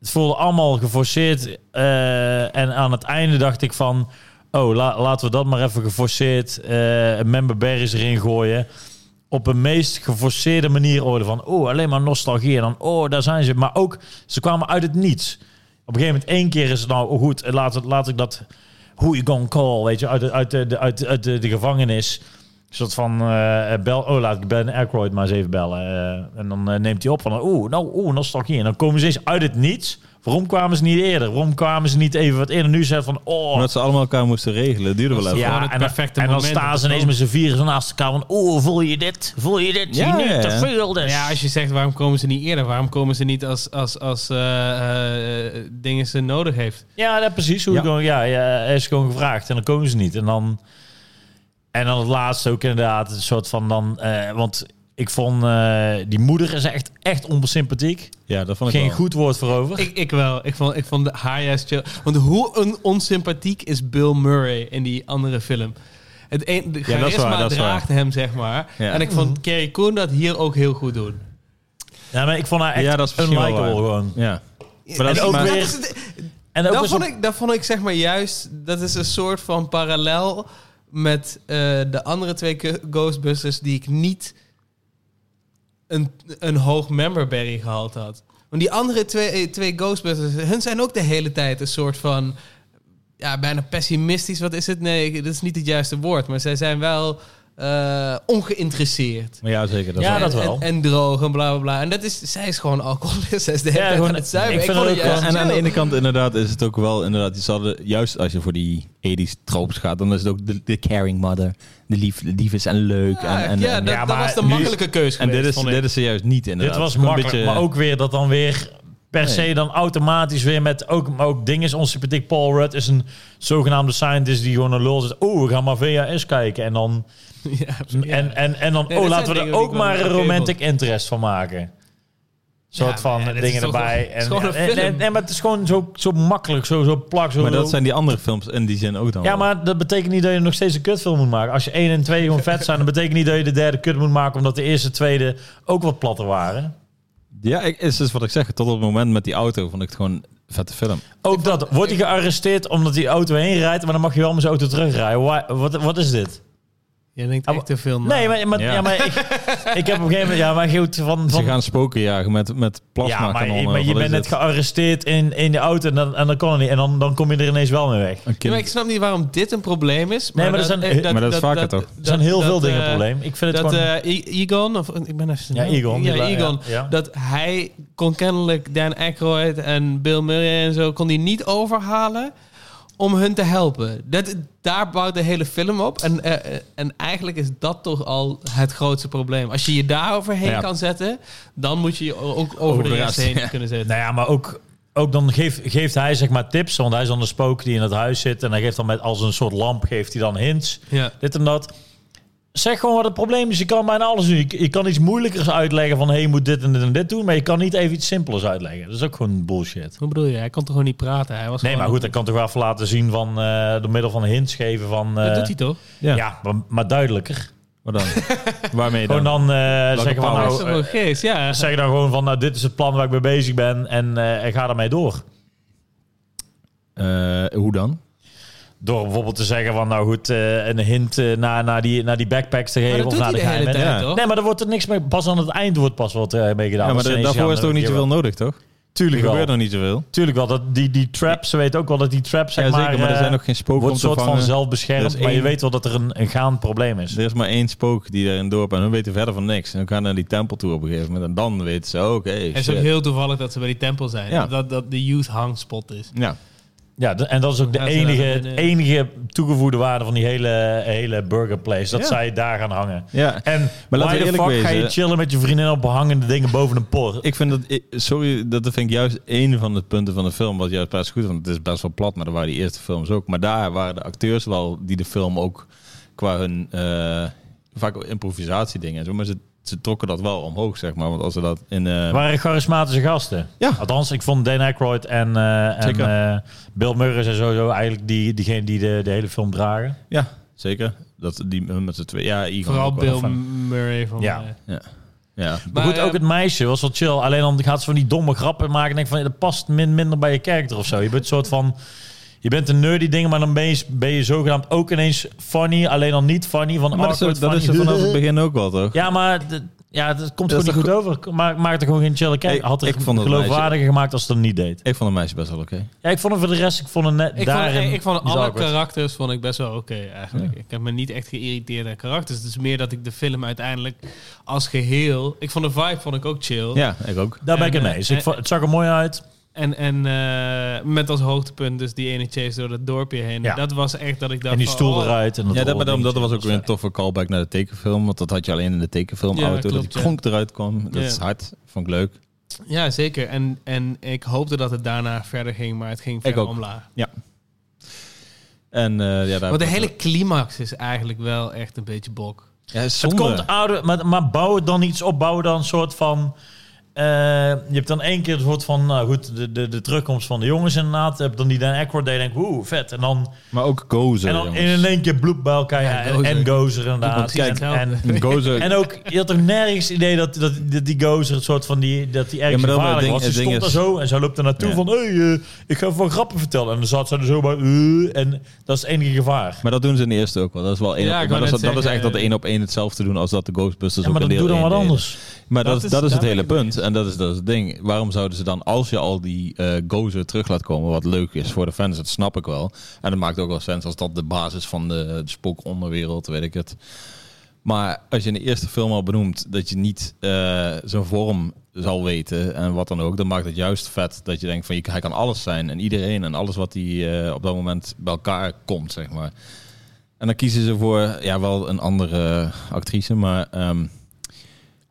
Speaker 2: Het voelde allemaal geforceerd. eh, en aan het einde dacht ik van, oh, la- laten we dat maar even geforceerd eh, een member berries erin gooien. Op een meest geforceerde manier orde van, oh, alleen maar nostalgie. En dan, oh, daar zijn ze. Maar ook, ze kwamen uit het niets. Op een gegeven moment, één keer is het nou, oh, goed, eh, laat, laat ik dat... Who you gonna call, weet je, uit, de- uit, de, de- uit, de- uit de, de gevangenis. Een soort van, eh, bel, oh laat ik Ben Aykroyd maar eens even bellen. eh, en dan eh, neemt hij op van, oeh, nou, oeh, nostalgie. En dan komen ze eens uit het niets. Waarom kwamen ze niet eerder? Waarom kwamen ze niet even wat eerder? Nu zegt van, oh,
Speaker 1: Omdat ze allemaal elkaar moesten regelen, het duurde wel even.
Speaker 3: Ja, gewoon
Speaker 2: ja,
Speaker 3: het
Speaker 2: en dan,
Speaker 3: perfecte
Speaker 2: en dan
Speaker 3: moment om
Speaker 2: staan
Speaker 3: te
Speaker 2: ze ineens
Speaker 3: komen.
Speaker 2: met z'n vieren zo naast elkaar van, oeh, voel je dit? Voel je dit?
Speaker 1: Ja,
Speaker 2: Ja,
Speaker 1: ja,
Speaker 2: te
Speaker 1: ja.
Speaker 2: veel dus.
Speaker 3: Nou Ja, als je zegt waarom komen ze niet eerder? Waarom komen ze niet als, als, als eh, eh, dingen ze nodig heeft?
Speaker 2: Ja, dat precies. Hoe
Speaker 1: Ja.
Speaker 2: ik gewoon, ja, ja, er is gewoon gevraagd en dan komen ze niet. En dan, en dan het laatste ook inderdaad, een soort van dan... eh, want ik vond, eh, die moeder is echt, echt onsympathiek.
Speaker 1: Ja, dat vond ik
Speaker 2: Geen
Speaker 1: wel.
Speaker 2: goed woord voor over.
Speaker 3: Ik, ik wel. Ik vond, ik vond de highest chill. Want hoe een onsympathiek is Bill Murray in die andere film? Het een, de
Speaker 1: is
Speaker 3: charisma
Speaker 1: waar, dat is
Speaker 3: draagt hem, zeg maar.
Speaker 1: Ja. Mhm.
Speaker 3: En ik vond Kerry Coon dat hier ook heel goed doen.
Speaker 2: ja, maar ik vond haar echt
Speaker 1: Ja, dat is misschien wel
Speaker 2: unlikable
Speaker 1: waar.
Speaker 2: gewoon.
Speaker 1: Ja. Maar dat
Speaker 2: En
Speaker 1: is
Speaker 2: ook
Speaker 1: maar-
Speaker 2: weer-
Speaker 3: is het-
Speaker 2: En ook
Speaker 3: dat,
Speaker 2: was
Speaker 3: vond
Speaker 2: op-
Speaker 3: ik, dat vond ik zeg maar juist... Dat is een soort van parallel met eh, de andere twee ke- Ghostbusters... die ik niet een, een hoog memberberry gehaald had. Want die andere twee, eh, twee Ghostbusters... hun zijn ook de hele tijd een soort van... Ja, bijna pessimistisch. Wat is het? Nee, dat is niet het juiste woord. Maar zij zijn wel eh, ongeïnteresseerd.
Speaker 1: Maar ja, zeker. Dat
Speaker 2: Ja,
Speaker 1: wel.
Speaker 2: dat-
Speaker 3: en,
Speaker 2: wel.
Speaker 3: En, en droog en bla bla bla. En dat is, zij is gewoon alcoholist. [LAUGHS] Zij is de hele
Speaker 2: Ja,
Speaker 3: tijd
Speaker 2: gewoon-
Speaker 3: aan het zuipen.
Speaker 2: ik vind
Speaker 3: vond
Speaker 2: dat
Speaker 3: het
Speaker 2: ook wel-
Speaker 3: juist
Speaker 1: En aan de
Speaker 3: chill.
Speaker 1: ene kant inderdaad is het ook wel inderdaad, ze hadden, juist als je voor die 80s tropes gaat, dan is het ook de, de caring mother, de lief, de lief is en leuk. en, en,
Speaker 3: ja,
Speaker 1: en-
Speaker 3: dat,
Speaker 2: ja,
Speaker 3: dat
Speaker 2: maar
Speaker 3: was de
Speaker 2: nu-
Speaker 3: makkelijke keus
Speaker 1: En
Speaker 3: geweest,
Speaker 1: dit is,
Speaker 3: vond ik.
Speaker 1: dit is er juist niet inderdaad.
Speaker 2: Dit was
Speaker 1: Het is gewoon
Speaker 2: makkelijk, maar ook weer dat dan weer per
Speaker 1: Nee.
Speaker 2: se dan automatisch weer met ook, maar ook dingen is onsympathiek. Paul Rudd is een zogenaamde scientist die gewoon een lul zit. Oh, we gaan maar VHS kijken en dan [LAUGHS]
Speaker 3: Ja,
Speaker 2: en, en, en dan
Speaker 3: Nee,
Speaker 2: oh
Speaker 3: dat
Speaker 2: laten we
Speaker 3: zijn
Speaker 2: er
Speaker 3: dingen die
Speaker 2: ook
Speaker 3: ik wel
Speaker 2: maar een
Speaker 3: oké
Speaker 2: romantic interest van maken. Soort
Speaker 3: Ja,
Speaker 2: van
Speaker 3: maar ja, dit is
Speaker 2: dingen
Speaker 3: toch
Speaker 2: erbij.
Speaker 3: wel- het
Speaker 2: En,
Speaker 3: is gewoon
Speaker 2: en,
Speaker 3: een
Speaker 2: en,
Speaker 3: film.
Speaker 2: en- maar het is gewoon zo, zo makkelijk, zo, zo plak. Zo,
Speaker 1: Maar
Speaker 2: zo-
Speaker 1: dat zijn die andere films in die zin ook dan
Speaker 2: ja,
Speaker 1: wel.
Speaker 2: maar dat betekent niet dat je nog steeds een kutfilm moet maken. Als je 1 en 2 gewoon vet zijn, dan betekent niet dat je de derde kut moet maken, omdat de eerste, tweede ook wat platter waren.
Speaker 1: Ja, ik, is dus wat ik zeg. Tot op het moment met die auto vond ik het gewoon een vette film. Dus
Speaker 2: Ook dat. Wordt hij gearresteerd omdat die auto heen rijdt, maar dan mag je wel met zijn auto terugrijden. Why- wat, wat is dit?
Speaker 3: Jij denkt
Speaker 2: Ah,
Speaker 3: echt te veel na.
Speaker 2: Nee, maar, maar, ja.
Speaker 1: Ja.
Speaker 2: maar ik, ik heb op een gegeven moment... Ja, maar goed, van...
Speaker 1: Ze
Speaker 2: van
Speaker 1: gaan spoken jagen met, met
Speaker 2: ja, maar,
Speaker 1: plasmakanonnen.
Speaker 2: maar je
Speaker 1: Wat is
Speaker 2: bent net
Speaker 1: het?
Speaker 2: gearresteerd in, in de auto en dan, en dan kon het niet. En dan, dan kom je er ineens wel mee weg.
Speaker 1: Een
Speaker 3: Ja,
Speaker 1: kind-
Speaker 3: maar ik snap niet waarom dit een probleem is.
Speaker 2: Nee, maar er
Speaker 3: dat,
Speaker 2: zijn-
Speaker 1: maar dat is vaker toch?
Speaker 2: Er zijn heel
Speaker 3: dat,
Speaker 2: veel dingen
Speaker 3: eh,
Speaker 2: een probleem. Ik vind het
Speaker 3: Dat
Speaker 2: gewoon...
Speaker 3: eh, I- Egon, of ik ben even zijn
Speaker 2: ja,
Speaker 3: naam-
Speaker 2: Egon.
Speaker 3: Ja,
Speaker 2: die-
Speaker 3: Egon.
Speaker 2: ja.
Speaker 3: Dat hij kon kennelijk Dan Aykroyd en Bill Murray en zo kon hij niet overhalen om hun te helpen. Dat, daar bouwt de hele film op. En, eh, eh, en eigenlijk is dat toch al het grootste probleem. Als je je daar overheen
Speaker 1: Ja.
Speaker 3: kan zetten, dan moet je je ook over, de rest heen
Speaker 1: ja.
Speaker 3: kunnen zetten.
Speaker 2: Nou ja, maar ook, ook dan geeft, geeft hij zeg maar tips. Want hij is dan de spook die in het huis zit. En hij geeft dan met als een soort lamp geeft hij dan hints.
Speaker 3: Ja.
Speaker 2: Dit en dat. Zeg gewoon wat het probleem is. Je kan bijna alles doen. Je, je kan iets moeilijkers uitleggen van... hé, je moet dit en dit en dit doen. Maar je kan niet even iets simpelers uitleggen. Dat is ook gewoon bullshit.
Speaker 3: Hoe bedoel je? Hij kon toch gewoon niet praten? Hij was
Speaker 2: Nee,
Speaker 3: gewoon-
Speaker 2: maar goed, dat kan toch wel even laten zien van... eh, door middel van hints geven van... eh,
Speaker 3: Dat doet hij toch?
Speaker 2: ja, maar, maar duidelijker.
Speaker 1: Wat dan?
Speaker 2: [LAUGHS]
Speaker 1: Waarmee
Speaker 2: Gewoon
Speaker 1: dan?
Speaker 2: dan eh, zeggen van...
Speaker 1: power?
Speaker 2: Nou,
Speaker 3: Dat is toch
Speaker 2: eh,
Speaker 3: wel geest, ja.
Speaker 2: zeg dan gewoon van... nou, dit is het plan waar ik mee bezig ben. En eh, en ga daarmee door.
Speaker 1: Eh, hoe dan?
Speaker 2: Door bijvoorbeeld te zeggen van, nou goed, eh, een hint eh, naar, naar, die, naar die backpacks te
Speaker 3: Maar
Speaker 2: geven
Speaker 3: dat
Speaker 2: of
Speaker 3: doet
Speaker 2: naar
Speaker 3: hij
Speaker 2: de
Speaker 3: de hele
Speaker 2: geheimen.
Speaker 3: tijd,
Speaker 1: Ja.
Speaker 3: toch?
Speaker 2: Nee, maar er wordt er niks mee. Pas aan het eind wordt pas wat eh, mee
Speaker 1: Ja, maar
Speaker 2: gedaan. Als
Speaker 1: da-
Speaker 2: ze ineens
Speaker 1: daarvoor
Speaker 2: gaan,
Speaker 1: is toch
Speaker 2: eh,
Speaker 1: niet zoveel
Speaker 2: keer
Speaker 1: nodig, toch?
Speaker 2: Tuurlijk
Speaker 1: er gebeurt
Speaker 2: wel.
Speaker 1: nog niet zoveel.
Speaker 2: Tuurlijk wel. Dat, die, die traps, ze weten ook wel dat die traps, zeg
Speaker 1: Ja, zeker, maar
Speaker 2: eh,
Speaker 1: er zijn nog geen spoken om
Speaker 2: wordt
Speaker 1: te
Speaker 2: soort van
Speaker 1: vangen. Er
Speaker 2: zelfbeschermd.
Speaker 1: is
Speaker 2: Maar je
Speaker 1: één-
Speaker 2: weet wel dat er een, een gaand probleem is.
Speaker 1: Er is maar één spook die daar in het dorp en hun weten verder van niks. En dan gaan ze naar die tempel toe op een gegeven moment en dan weten ze, oké,
Speaker 3: Het is
Speaker 1: shit.
Speaker 3: ook heel toevallig dat ze bij die tempel zijn.
Speaker 1: Ja.
Speaker 3: Dat dat de youth hangspot is.
Speaker 1: Ja,
Speaker 2: Ja, de- en dat is ook de
Speaker 3: Ja, ze laten
Speaker 2: enige,
Speaker 3: binnen.
Speaker 1: eh,
Speaker 2: enige toegevoegde waarde van die hele, hele burgerplace. Dat
Speaker 1: Ja.
Speaker 2: zij daar gaan hangen.
Speaker 1: ja.
Speaker 2: En
Speaker 1: Maar laten
Speaker 2: why
Speaker 1: we
Speaker 2: the
Speaker 1: eerlijk
Speaker 2: fuck ga je
Speaker 1: wezen.
Speaker 2: chillen met je vriendin op hangende dingen boven een poort?
Speaker 1: Ik vind dat, ik- sorry, dat vind ik juist één van de punten van de film wat juist best goed is. Want het is best wel plat, maar dat waren die eerste films ook. Maar daar waren de acteurs wel die de film ook qua hun eh, vaak improvisatiedingen en zo. Maar ze, ze trokken dat wel omhoog, zeg maar. Want als ze dat in eh,
Speaker 2: Het waren charismatische gasten.
Speaker 1: Ja.
Speaker 2: Althans, ik vond Dan Aykroyd en, eh, en
Speaker 1: Zeker.
Speaker 2: eh, Bill Murray zijn sowieso eigenlijk die, diegene die de, de hele film dragen.
Speaker 1: Ja, zeker. Dat die hun met z'n twee. Ja, Ivan
Speaker 3: Vooral
Speaker 1: ook wel.
Speaker 3: Bill Murray van eh,
Speaker 2: Ja.
Speaker 3: mij.
Speaker 1: Ja.
Speaker 2: Maar, goed,
Speaker 3: eh,
Speaker 2: ook het meisje was wel chill. Alleen dan gaat ze van die domme grappen maken. En denk van, dat past min, minder bij je karakter of zo. Je bent een soort van... Je bent een nerdy ding, maar dan ben je, ben je zogenaamd ook ineens funny. Alleen dan niet funny. Van
Speaker 1: Maar dat
Speaker 2: awkward
Speaker 1: is, dat is er
Speaker 2: funny.
Speaker 1: vanaf
Speaker 2: [LAUGHS]
Speaker 1: het begin ook wel, toch?
Speaker 2: Ja, maar d- ja, dat komt
Speaker 1: Dat is
Speaker 2: gewoon niet goed over. Maak, maak er gewoon geen chill
Speaker 1: Ik-
Speaker 2: karakter. Had
Speaker 1: ik
Speaker 2: het
Speaker 1: vond het meisje-
Speaker 2: geloofwaardiger gemaakt als het dat niet deed.
Speaker 1: Ik vond de meisje best wel oké.
Speaker 2: Ja, ik vond het voor de rest... Ik vond het net
Speaker 3: Ik,
Speaker 2: daarin...
Speaker 3: vond, ik vond
Speaker 2: bizar
Speaker 3: alle
Speaker 2: awkward.
Speaker 3: karakters vond ik best wel oké eigenlijk. Ik heb me niet echt geïrriteerd aan karakters. Het is meer dat ik de film uiteindelijk als geheel... Ik vond de vibe vond ik ook chill.
Speaker 1: Ja, ik ook.
Speaker 2: Daar ben ik
Speaker 3: En,
Speaker 2: het mee
Speaker 3: eh,
Speaker 2: eens. Ik
Speaker 3: en-
Speaker 2: vond- het zag er mooi uit.
Speaker 3: En, en eh, met als hoogtepunt dus die ene chase door dat dorpje heen.
Speaker 2: Ja.
Speaker 3: Dat was echt dat ik dacht
Speaker 2: En die
Speaker 3: van,
Speaker 2: stoel
Speaker 3: oh,
Speaker 2: eruit. En dat
Speaker 1: Ja, dat, maar
Speaker 2: oordingetje.
Speaker 1: dat, dat was ook weer een toffe callback naar de tekenfilm. Want dat had je alleen in de tekenfilm
Speaker 3: Ja,
Speaker 1: auto. dat
Speaker 3: klopt,
Speaker 1: die
Speaker 3: ja.
Speaker 1: kronk eruit kwam. Dat
Speaker 3: Ja.
Speaker 1: is hard. Vond ik leuk.
Speaker 3: Ja, zeker. En, en ik hoopte dat het daarna verder ging, maar het ging verder
Speaker 1: ook.
Speaker 3: omlaag.
Speaker 1: En eh, ja, daar...
Speaker 3: Want de hele climax is eigenlijk wel echt een beetje bok.
Speaker 1: Ja, is
Speaker 2: Het
Speaker 1: zonde.
Speaker 2: komt ouder, maar, maar bouw het dan iets op. Bouw dan een soort van... eh, je hebt dan één keer het soort van... Nou goed, de, de, de terugkomst van de jongens inderdaad. Je hebt dan die Dan Aykroyd. Die denkt, woe, vet. En dan,
Speaker 1: Maar ook Gozer,
Speaker 2: en dan
Speaker 1: jongens.
Speaker 2: [LAUGHS] in één keer bloep bij elkaar.
Speaker 3: Ja,
Speaker 2: Ja, en-
Speaker 3: Gozer.
Speaker 2: en Gozer
Speaker 3: Want
Speaker 2: inderdaad.
Speaker 3: kijk,
Speaker 2: en, en,
Speaker 1: Gozer...
Speaker 2: en ook, je had toch nergens idee dat, dat, dat die Gozer het soort van... Die, dat die ergens
Speaker 1: Ja, maar dat
Speaker 2: gevaarlijk
Speaker 1: ding-
Speaker 2: was. Die
Speaker 1: het
Speaker 2: stond
Speaker 1: ding
Speaker 2: daar
Speaker 1: is-
Speaker 2: zo en zij loopt er naartoe
Speaker 1: Ja.
Speaker 2: van... Hé, hey, eh, ik ga even wat grappen vertellen. En dan zat ze er zo bij... eh, en dat is het enige gevaar.
Speaker 1: Maar dat doen ze in de eerste ook wel. Dat is wel één
Speaker 3: Ja,
Speaker 1: op,
Speaker 3: ik
Speaker 1: maar
Speaker 3: wou
Speaker 1: dat, is-
Speaker 3: net
Speaker 1: dat is
Speaker 3: zeggen,
Speaker 1: echt dat
Speaker 3: eh,
Speaker 1: één op één hetzelfde doen als dat de Ghostbusters
Speaker 2: Ja,
Speaker 1: ook
Speaker 2: maar
Speaker 1: in
Speaker 2: dan
Speaker 1: deel
Speaker 2: doe dan
Speaker 1: één
Speaker 2: wat
Speaker 1: deden.
Speaker 2: anders.
Speaker 1: Maar dat,
Speaker 3: Dat
Speaker 1: is,
Speaker 3: is-
Speaker 1: dat is het
Speaker 3: daar
Speaker 1: hele
Speaker 3: ben ik
Speaker 1: punt. En dat is, dat is het ding. Waarom zouden ze dan, als je al die eh gozer terug laat komen, wat leuk is voor de fans, dat snap ik wel. En dat maakt ook wel sens als dat de basis van de, de spookonderwereld, weet ik het. Maar als je in de eerste film al benoemt dat je niet eh, zijn vorm zal weten en wat dan ook, dan maakt het juist vet dat je denkt van je, hij kan alles zijn en iedereen en alles wat hij eh, op dat moment bij elkaar komt, zeg maar. En dan kiezen ze voor, ja, wel een andere actrice, maar ehm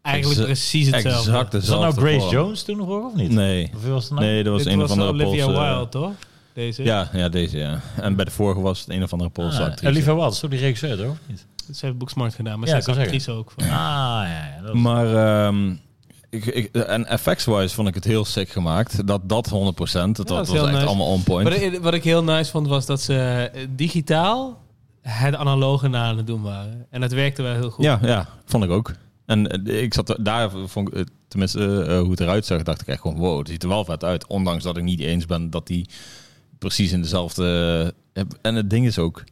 Speaker 3: Eigenlijk
Speaker 1: Exa-
Speaker 3: precies hetzelfde.
Speaker 1: exact dezelfde.
Speaker 2: Is dat nou Grace
Speaker 1: vorm.
Speaker 2: Jones toen nog ook, of niet?
Speaker 1: Nee.
Speaker 2: Of wie was het nou?
Speaker 1: Nee, dat was
Speaker 3: Dit
Speaker 1: een
Speaker 3: was
Speaker 1: of andere
Speaker 3: Olivia
Speaker 1: Poolse...
Speaker 3: Wilde, toch? Deze.
Speaker 1: Ja, ja, deze ja. En bij de vorige was het een of andere Poolse
Speaker 2: Ah,
Speaker 1: actrice.
Speaker 2: Olivia Wilde, zo die regisseur, toch? Niet?
Speaker 3: Ze heeft Booksmart gedaan, maar
Speaker 2: Ja,
Speaker 3: ze
Speaker 2: ik
Speaker 3: is
Speaker 2: wou
Speaker 3: actrice ook.
Speaker 2: Ah, ja, ja. Dat was-
Speaker 1: Maar ehm, ik, ik, en effects-wise vond ik het heel sick gemaakt. Dat dat 100%. Dat, dat
Speaker 3: is
Speaker 1: was
Speaker 3: heel
Speaker 1: echt
Speaker 3: nice.
Speaker 1: allemaal on point.
Speaker 3: Wat, ik- wat ik heel nice vond, was dat ze eh, digitaal het analoge na aan het doen waren. En dat werkte wel heel goed.
Speaker 1: Ja, ja, vond ik ook. En eh, ik zat er- daar, vond ik, eh, tenminste eh, eh, hoe het eruit zag, dacht ik echt gewoon, wow, het ziet er wel vet uit. Ondanks dat ik eh, niet eens ben dat die precies in dezelfde... en het ding is ook,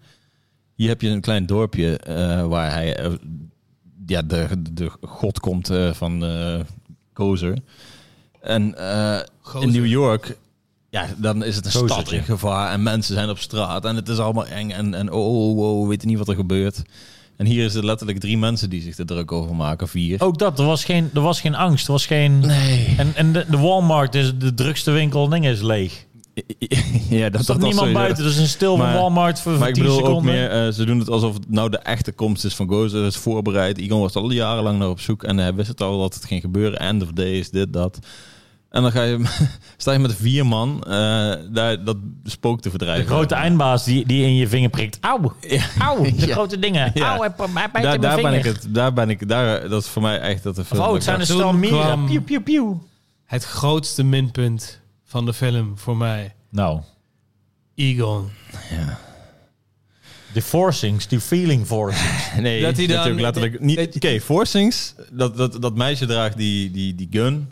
Speaker 1: Hier heb je een klein dorpje eh, waar hij, eh, ja, de, de god komt eh, van eh Gozer. En eh, in New York, ja, dan is het een
Speaker 2: Gozer,
Speaker 1: stad
Speaker 2: ja.
Speaker 1: in gevaar en mensen zijn op straat en het is allemaal eng en, en oh, oh, oh, weet je niet wat er gebeurt. En hier is het letterlijk drie mensen die zich er druk over maken, vier.
Speaker 2: Ook dat, er was geen, er was geen angst, er was geen...
Speaker 1: nee.
Speaker 2: En, en de, de Walmart, is de drukste winkel, en dingen is leeg.
Speaker 1: [LAUGHS] Ja, dat
Speaker 2: Er staat
Speaker 1: dat
Speaker 2: niemand
Speaker 1: sowieso.
Speaker 2: buiten, dus een stil van
Speaker 1: Maar-
Speaker 2: Walmart voor, voor
Speaker 1: Maar ik
Speaker 2: 10
Speaker 1: bedoel ook
Speaker 2: seconden.
Speaker 1: meer, eh, ze doen het alsof het nou de echte komst is van Gozer. is voorbereid. Igon was al jarenlang naar op zoek en hij wist het al dat het ging gebeuren. End of day is dit, dat. En dan ga je, [LAUGHS] sta je met vier man eh, daar, dat spook te
Speaker 2: De
Speaker 1: verdrijven.
Speaker 2: grote eindbaas die, die in je vinger prikt. Auw, auw,
Speaker 1: [LAUGHS]
Speaker 2: de
Speaker 1: Ja.
Speaker 2: grote dingen.
Speaker 1: Ja.
Speaker 2: Auw, hij, hij bijt
Speaker 1: daar,
Speaker 2: in mijn
Speaker 1: daar ben ik
Speaker 2: vinger.
Speaker 1: het, daar ben ik, daar, dat is voor mij echt dat de
Speaker 2: Of,
Speaker 1: film.
Speaker 2: oh, het zijn een stel
Speaker 3: Toen
Speaker 2: mieren.
Speaker 3: kwam-
Speaker 2: Piu, piu, piu.
Speaker 3: Het grootste minpunt van de film voor mij.
Speaker 1: dus-
Speaker 2: Nou,
Speaker 3: Egon.
Speaker 1: Ja.
Speaker 2: de forcings, die feeling forcings.
Speaker 1: Nee,
Speaker 3: Dat
Speaker 1: dat
Speaker 3: hij
Speaker 1: hij
Speaker 3: dan-
Speaker 1: natuurlijk letterlijk niet. Oké, Forcings, dat, dat, dat meisje draagt die, die, die gun.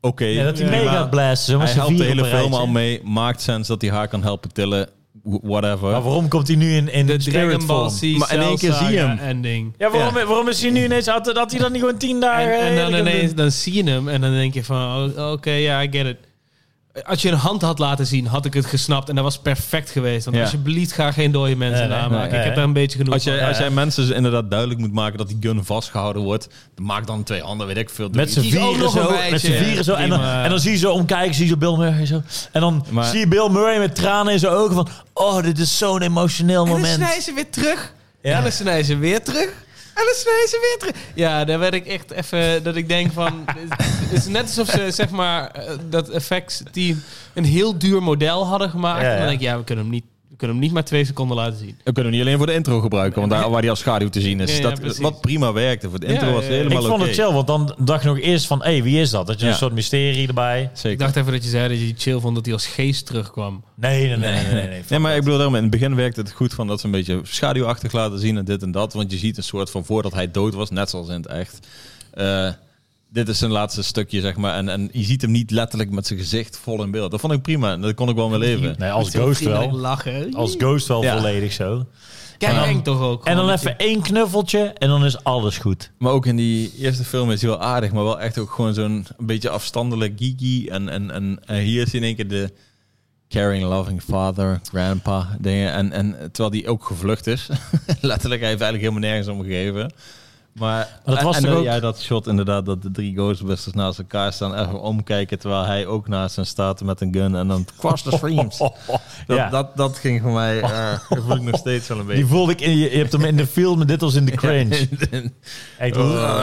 Speaker 1: Oké,
Speaker 2: Ja, dat die mee
Speaker 1: prima.
Speaker 2: gaat blazen.
Speaker 1: hij
Speaker 2: Hij
Speaker 1: helpt de hele film al mee. Maakt sens dat hij haar kan helpen tillen. wh- Whatever.
Speaker 2: Maar waarom komt hij nu in, in
Speaker 3: De
Speaker 2: spirit
Speaker 3: Dragon Ball
Speaker 2: form?
Speaker 3: Z
Speaker 1: Maar in één keer
Speaker 3: Cell
Speaker 1: zie je hem.
Speaker 3: Saga ending.
Speaker 2: Ja, waarom,
Speaker 1: Ja.
Speaker 2: waarom is hij nu ineens... Had, had hij dat niet gewoon tien dagen...
Speaker 3: En, en dan
Speaker 2: eerder kunnen
Speaker 3: ineens
Speaker 2: doen?
Speaker 3: dan zie je hem en dan denk je van, oh, oké, ja, I get it. Als je een hand had laten zien, had ik het gesnapt en dat was perfect geweest. Want
Speaker 1: Ja.
Speaker 3: alsjeblieft, ga geen dode mensen
Speaker 2: Nee, nee,
Speaker 3: namaken.
Speaker 2: nee,
Speaker 3: ik heb
Speaker 2: nee.
Speaker 3: daar een beetje genoeg
Speaker 1: Als
Speaker 3: van.
Speaker 1: jij, als jij mensen inderdaad duidelijk moet maken dat die gun vastgehouden wordt, maak dan twee handen, weet ik veel.
Speaker 2: Met z'n
Speaker 1: Doe iets.
Speaker 3: Kies ook
Speaker 2: vieren
Speaker 3: nog een
Speaker 2: zo.
Speaker 3: wijsje.
Speaker 2: Met z'n vieren zo. En dan,
Speaker 3: Prima.
Speaker 2: en dan zie je zo omkijken, zie je zo Bill Murray zo. En dan
Speaker 1: Maar-
Speaker 2: zie je Bill Murray met tranen in zijn ogen van... Oh, dit is zo'n emotioneel
Speaker 3: En dan
Speaker 2: moment.
Speaker 3: snijden ze weer terug.
Speaker 2: Ja.
Speaker 3: En dan snijden ze weer terug. En dan snijden ze weer terug. Ja, daar werd ik echt even... Dat ik denk van... [LAUGHS] het is net alsof ze, zeg maar... eh, Dat effects team een heel duur model hadden gemaakt.
Speaker 2: Ja,
Speaker 3: En
Speaker 2: ja.
Speaker 3: dan denk ik, ja, we kunnen hem niet... We kunnen hem niet maar twee seconden laten zien.
Speaker 1: We kunnen hem niet alleen voor de intro gebruiken, want daar waar die als schaduw te zien is.
Speaker 3: Ja, ja,
Speaker 1: dat,
Speaker 3: precies.
Speaker 1: wat prima werkte. Voor de intro
Speaker 3: Ja,
Speaker 1: was
Speaker 3: ja,
Speaker 1: het
Speaker 3: ja.
Speaker 1: helemaal
Speaker 2: Ik
Speaker 1: oké.
Speaker 2: vond het chill, want dan dacht ik nog eerst van... Hé, hey, wie is dat? Dat je
Speaker 1: Ja.
Speaker 2: een soort mysterie erbij...
Speaker 3: Ik
Speaker 1: Zeker.
Speaker 3: dacht even dat je zei dat je chill vond dat hij als geest terugkwam.
Speaker 2: Nee, nee, nee, nee. nee, nee.
Speaker 1: Nee, maar ik bedoel, daarom, in het begin werkte het goed van dat ze een beetje schaduwachtig laten zien en dit en dat. Want je ziet een soort van voordat hij dood was, net zoals in het echt. eh, dit is zijn laatste stukje, zeg maar. En, en je ziet hem niet letterlijk met zijn gezicht vol in beeld. Dat vond ik prima en dat kon ik wel mee leven.
Speaker 2: Nee, als Ghost wel.
Speaker 3: Lachen.
Speaker 2: Als Ghost wel
Speaker 1: Ja.
Speaker 2: volledig zo.
Speaker 3: Kijk,
Speaker 1: En dan-
Speaker 3: eng toch ook.
Speaker 2: En dan
Speaker 3: gewoon dat
Speaker 2: even één knuffeltje en dan is alles goed.
Speaker 1: Maar ook in die eerste film is hij wel aardig, maar wel echt ook gewoon zo'n beetje afstandelijk geeky. En, en, en, en hier is hij in één keer de caring, loving father, grandpa dingen. En, en terwijl hij ook gevlucht is. [LAUGHS] Letterlijk, hij heeft eigenlijk helemaal nergens om gegeven. Maar,
Speaker 2: Maar dat was
Speaker 1: en,
Speaker 2: toch
Speaker 1: en,
Speaker 2: ook-
Speaker 1: Ja, dat shot inderdaad, dat de drie Ghostbusters naast elkaar staan. Even omkijken, terwijl hij ook naast hen staat met een gun. En
Speaker 2: [LAUGHS]
Speaker 1: dan cross the streams. Dat,
Speaker 2: ja.
Speaker 1: dat, dat ging voor mij, eh dat voel ik nog steeds wel een
Speaker 2: Die
Speaker 1: beetje.
Speaker 2: voelde ik in je, je hebt hem in de film en dit was [LAUGHS] in de
Speaker 1: [LAUGHS]
Speaker 2: cringe. Echt,
Speaker 1: Oh.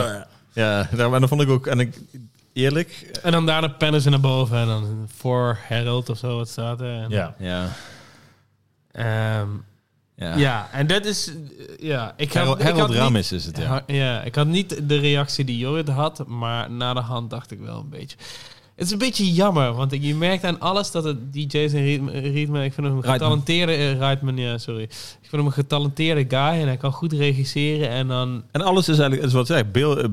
Speaker 1: Ja, daarom- en dan vond ik ook, en ik, eerlijk,
Speaker 3: je- En dan daarna pennen ze naar boven en dan voor Harold of zo, wat staat er. En,
Speaker 2: Ja.
Speaker 1: Ja.
Speaker 3: Ehm,
Speaker 1: ja.
Speaker 3: ja. en dat is... eh, Ja, ik had,
Speaker 1: Harold,
Speaker 3: ik had
Speaker 1: Harold
Speaker 3: niet-
Speaker 1: Ramis is het, ja.
Speaker 3: ha- ja, ik had niet de reactie die Jorrit had, maar na de hand dacht ik wel een beetje. Het is een beetje jammer, want je merkt aan alles dat het die Jason Reitman, Reitman ik vind hem een
Speaker 1: Reitman.
Speaker 3: getalenteerde... eh, Reitman, ja, sorry. Ik vind hem een getalenteerde guy en hij kan goed regisseren en dan...
Speaker 1: En alles is eigenlijk, is wat ik zeg, beeld, eh,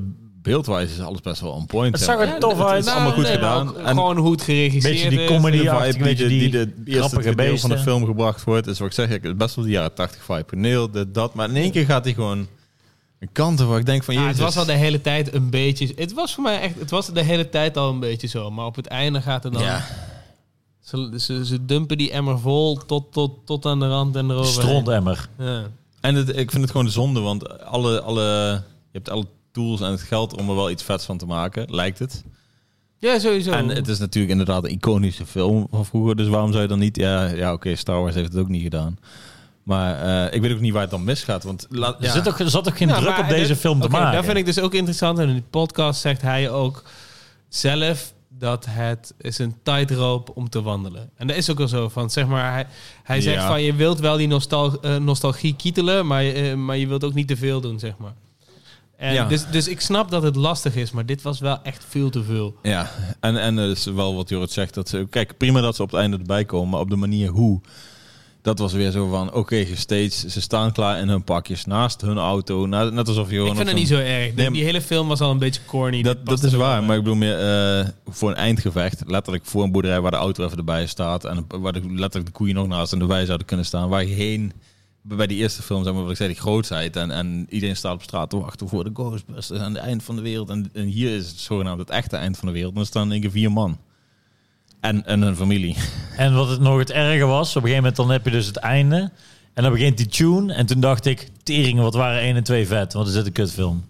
Speaker 1: beeldwijs is alles best wel on point.
Speaker 2: Het
Speaker 1: ja.
Speaker 2: zag er
Speaker 1: En
Speaker 2: tof nou,
Speaker 1: het-
Speaker 2: uit.
Speaker 1: Het is allemaal goed
Speaker 3: nee, maar
Speaker 1: gedaan.
Speaker 3: ook
Speaker 1: En
Speaker 3: gewoon hoe het geregisseerd
Speaker 2: Beetje die
Speaker 3: is.
Speaker 1: de
Speaker 2: comedy-
Speaker 1: vibe
Speaker 2: een beetje
Speaker 1: die, die,
Speaker 2: die
Speaker 1: de eerste
Speaker 2: grappige
Speaker 1: deel van de
Speaker 2: beesten.
Speaker 1: film gebracht wordt, is wat ik zeg, ik- best wel de jaren 80 vibe. Paneel, dit, dat. Maar in één keer gaat hij gewoon een kant waar ik denk van,
Speaker 3: Ja,
Speaker 1: jezus.
Speaker 3: het was al de hele tijd een beetje. Het was voor mij echt. Het was de hele tijd al een beetje zo. Maar op het einde gaat het dan.
Speaker 1: Ja.
Speaker 3: Ze, ze, ze dumpen die emmer vol tot, tot, tot aan de rand en erover.
Speaker 2: Strontemmer.
Speaker 3: Ja.
Speaker 1: En het, ik vind het gewoon zonde, want alle, alle, je hebt alle tools en het geld om er wel iets vets van te maken, lijkt het.
Speaker 3: ja, sowieso.
Speaker 1: En het is natuurlijk inderdaad een iconische film van vroeger. Dus waarom zou je dan niet... Ja, ja oké, Star Wars heeft het ook niet gedaan. Maar eh, ik weet ook niet waar het dan misgaat. Want laat,
Speaker 2: Er,
Speaker 1: ja.
Speaker 2: zit ook, er zat ook geen
Speaker 3: Ja,
Speaker 2: druk
Speaker 3: maar
Speaker 2: op deze
Speaker 3: dat-
Speaker 2: film te
Speaker 3: oké,
Speaker 2: maken.
Speaker 3: Dat vind ik dus ook interessant. En in die podcast zegt hij ook zelf dat het is een tightrope om te wandelen. En dat is ook wel zo van, zeg maar, hij, hij zegt
Speaker 1: Ja.
Speaker 3: van je wilt wel die nostal- eh, nostalgie kietelen, maar, je- eh, maar je wilt ook niet te veel doen, zeg maar. En
Speaker 1: Ja.
Speaker 3: dus, dus ik snap dat het lastig is, maar dit was wel echt veel te veel.
Speaker 1: ja, en, en het is wel wat Jorrit zegt. Dat ze, kijk, prima dat ze op het einde erbij komen. Maar op de manier hoe... Dat was weer zo van, oké, gesteeds Ze staan klaar in hun pakjes naast hun auto. na- net alsof je gewoon
Speaker 3: ik
Speaker 1: op
Speaker 3: vind het
Speaker 1: zo'n-
Speaker 3: niet zo erg.
Speaker 1: Nee,
Speaker 3: die hele film was al een beetje corny. Dit
Speaker 1: Dat,
Speaker 3: past
Speaker 1: dat is
Speaker 3: er wel
Speaker 1: waar,
Speaker 3: bij.
Speaker 1: maar ik bedoel meer eh, voor een eindgevecht. Letterlijk voor een boerderij waar de auto even erbij staat. En waar de, letterlijk de koeien nog naast en de wij zouden kunnen staan. Waar je heen bij die eerste film, zeg maar, wat ik zei, die grootheid. En, en iedereen staat op straat te wachten voor de Ghostbusters aan het eind van de wereld. En, en hier is het zogenaamd het echte eind van de wereld. En er staan denk ik vier man. En, en hun familie.
Speaker 2: En wat het nog het erge was, op een gegeven moment dan heb je dus het einde. En dan begint die tune. En toen dacht ik, teringen, wat waren 1 en 2 vet. Wat is dit een kutfilm.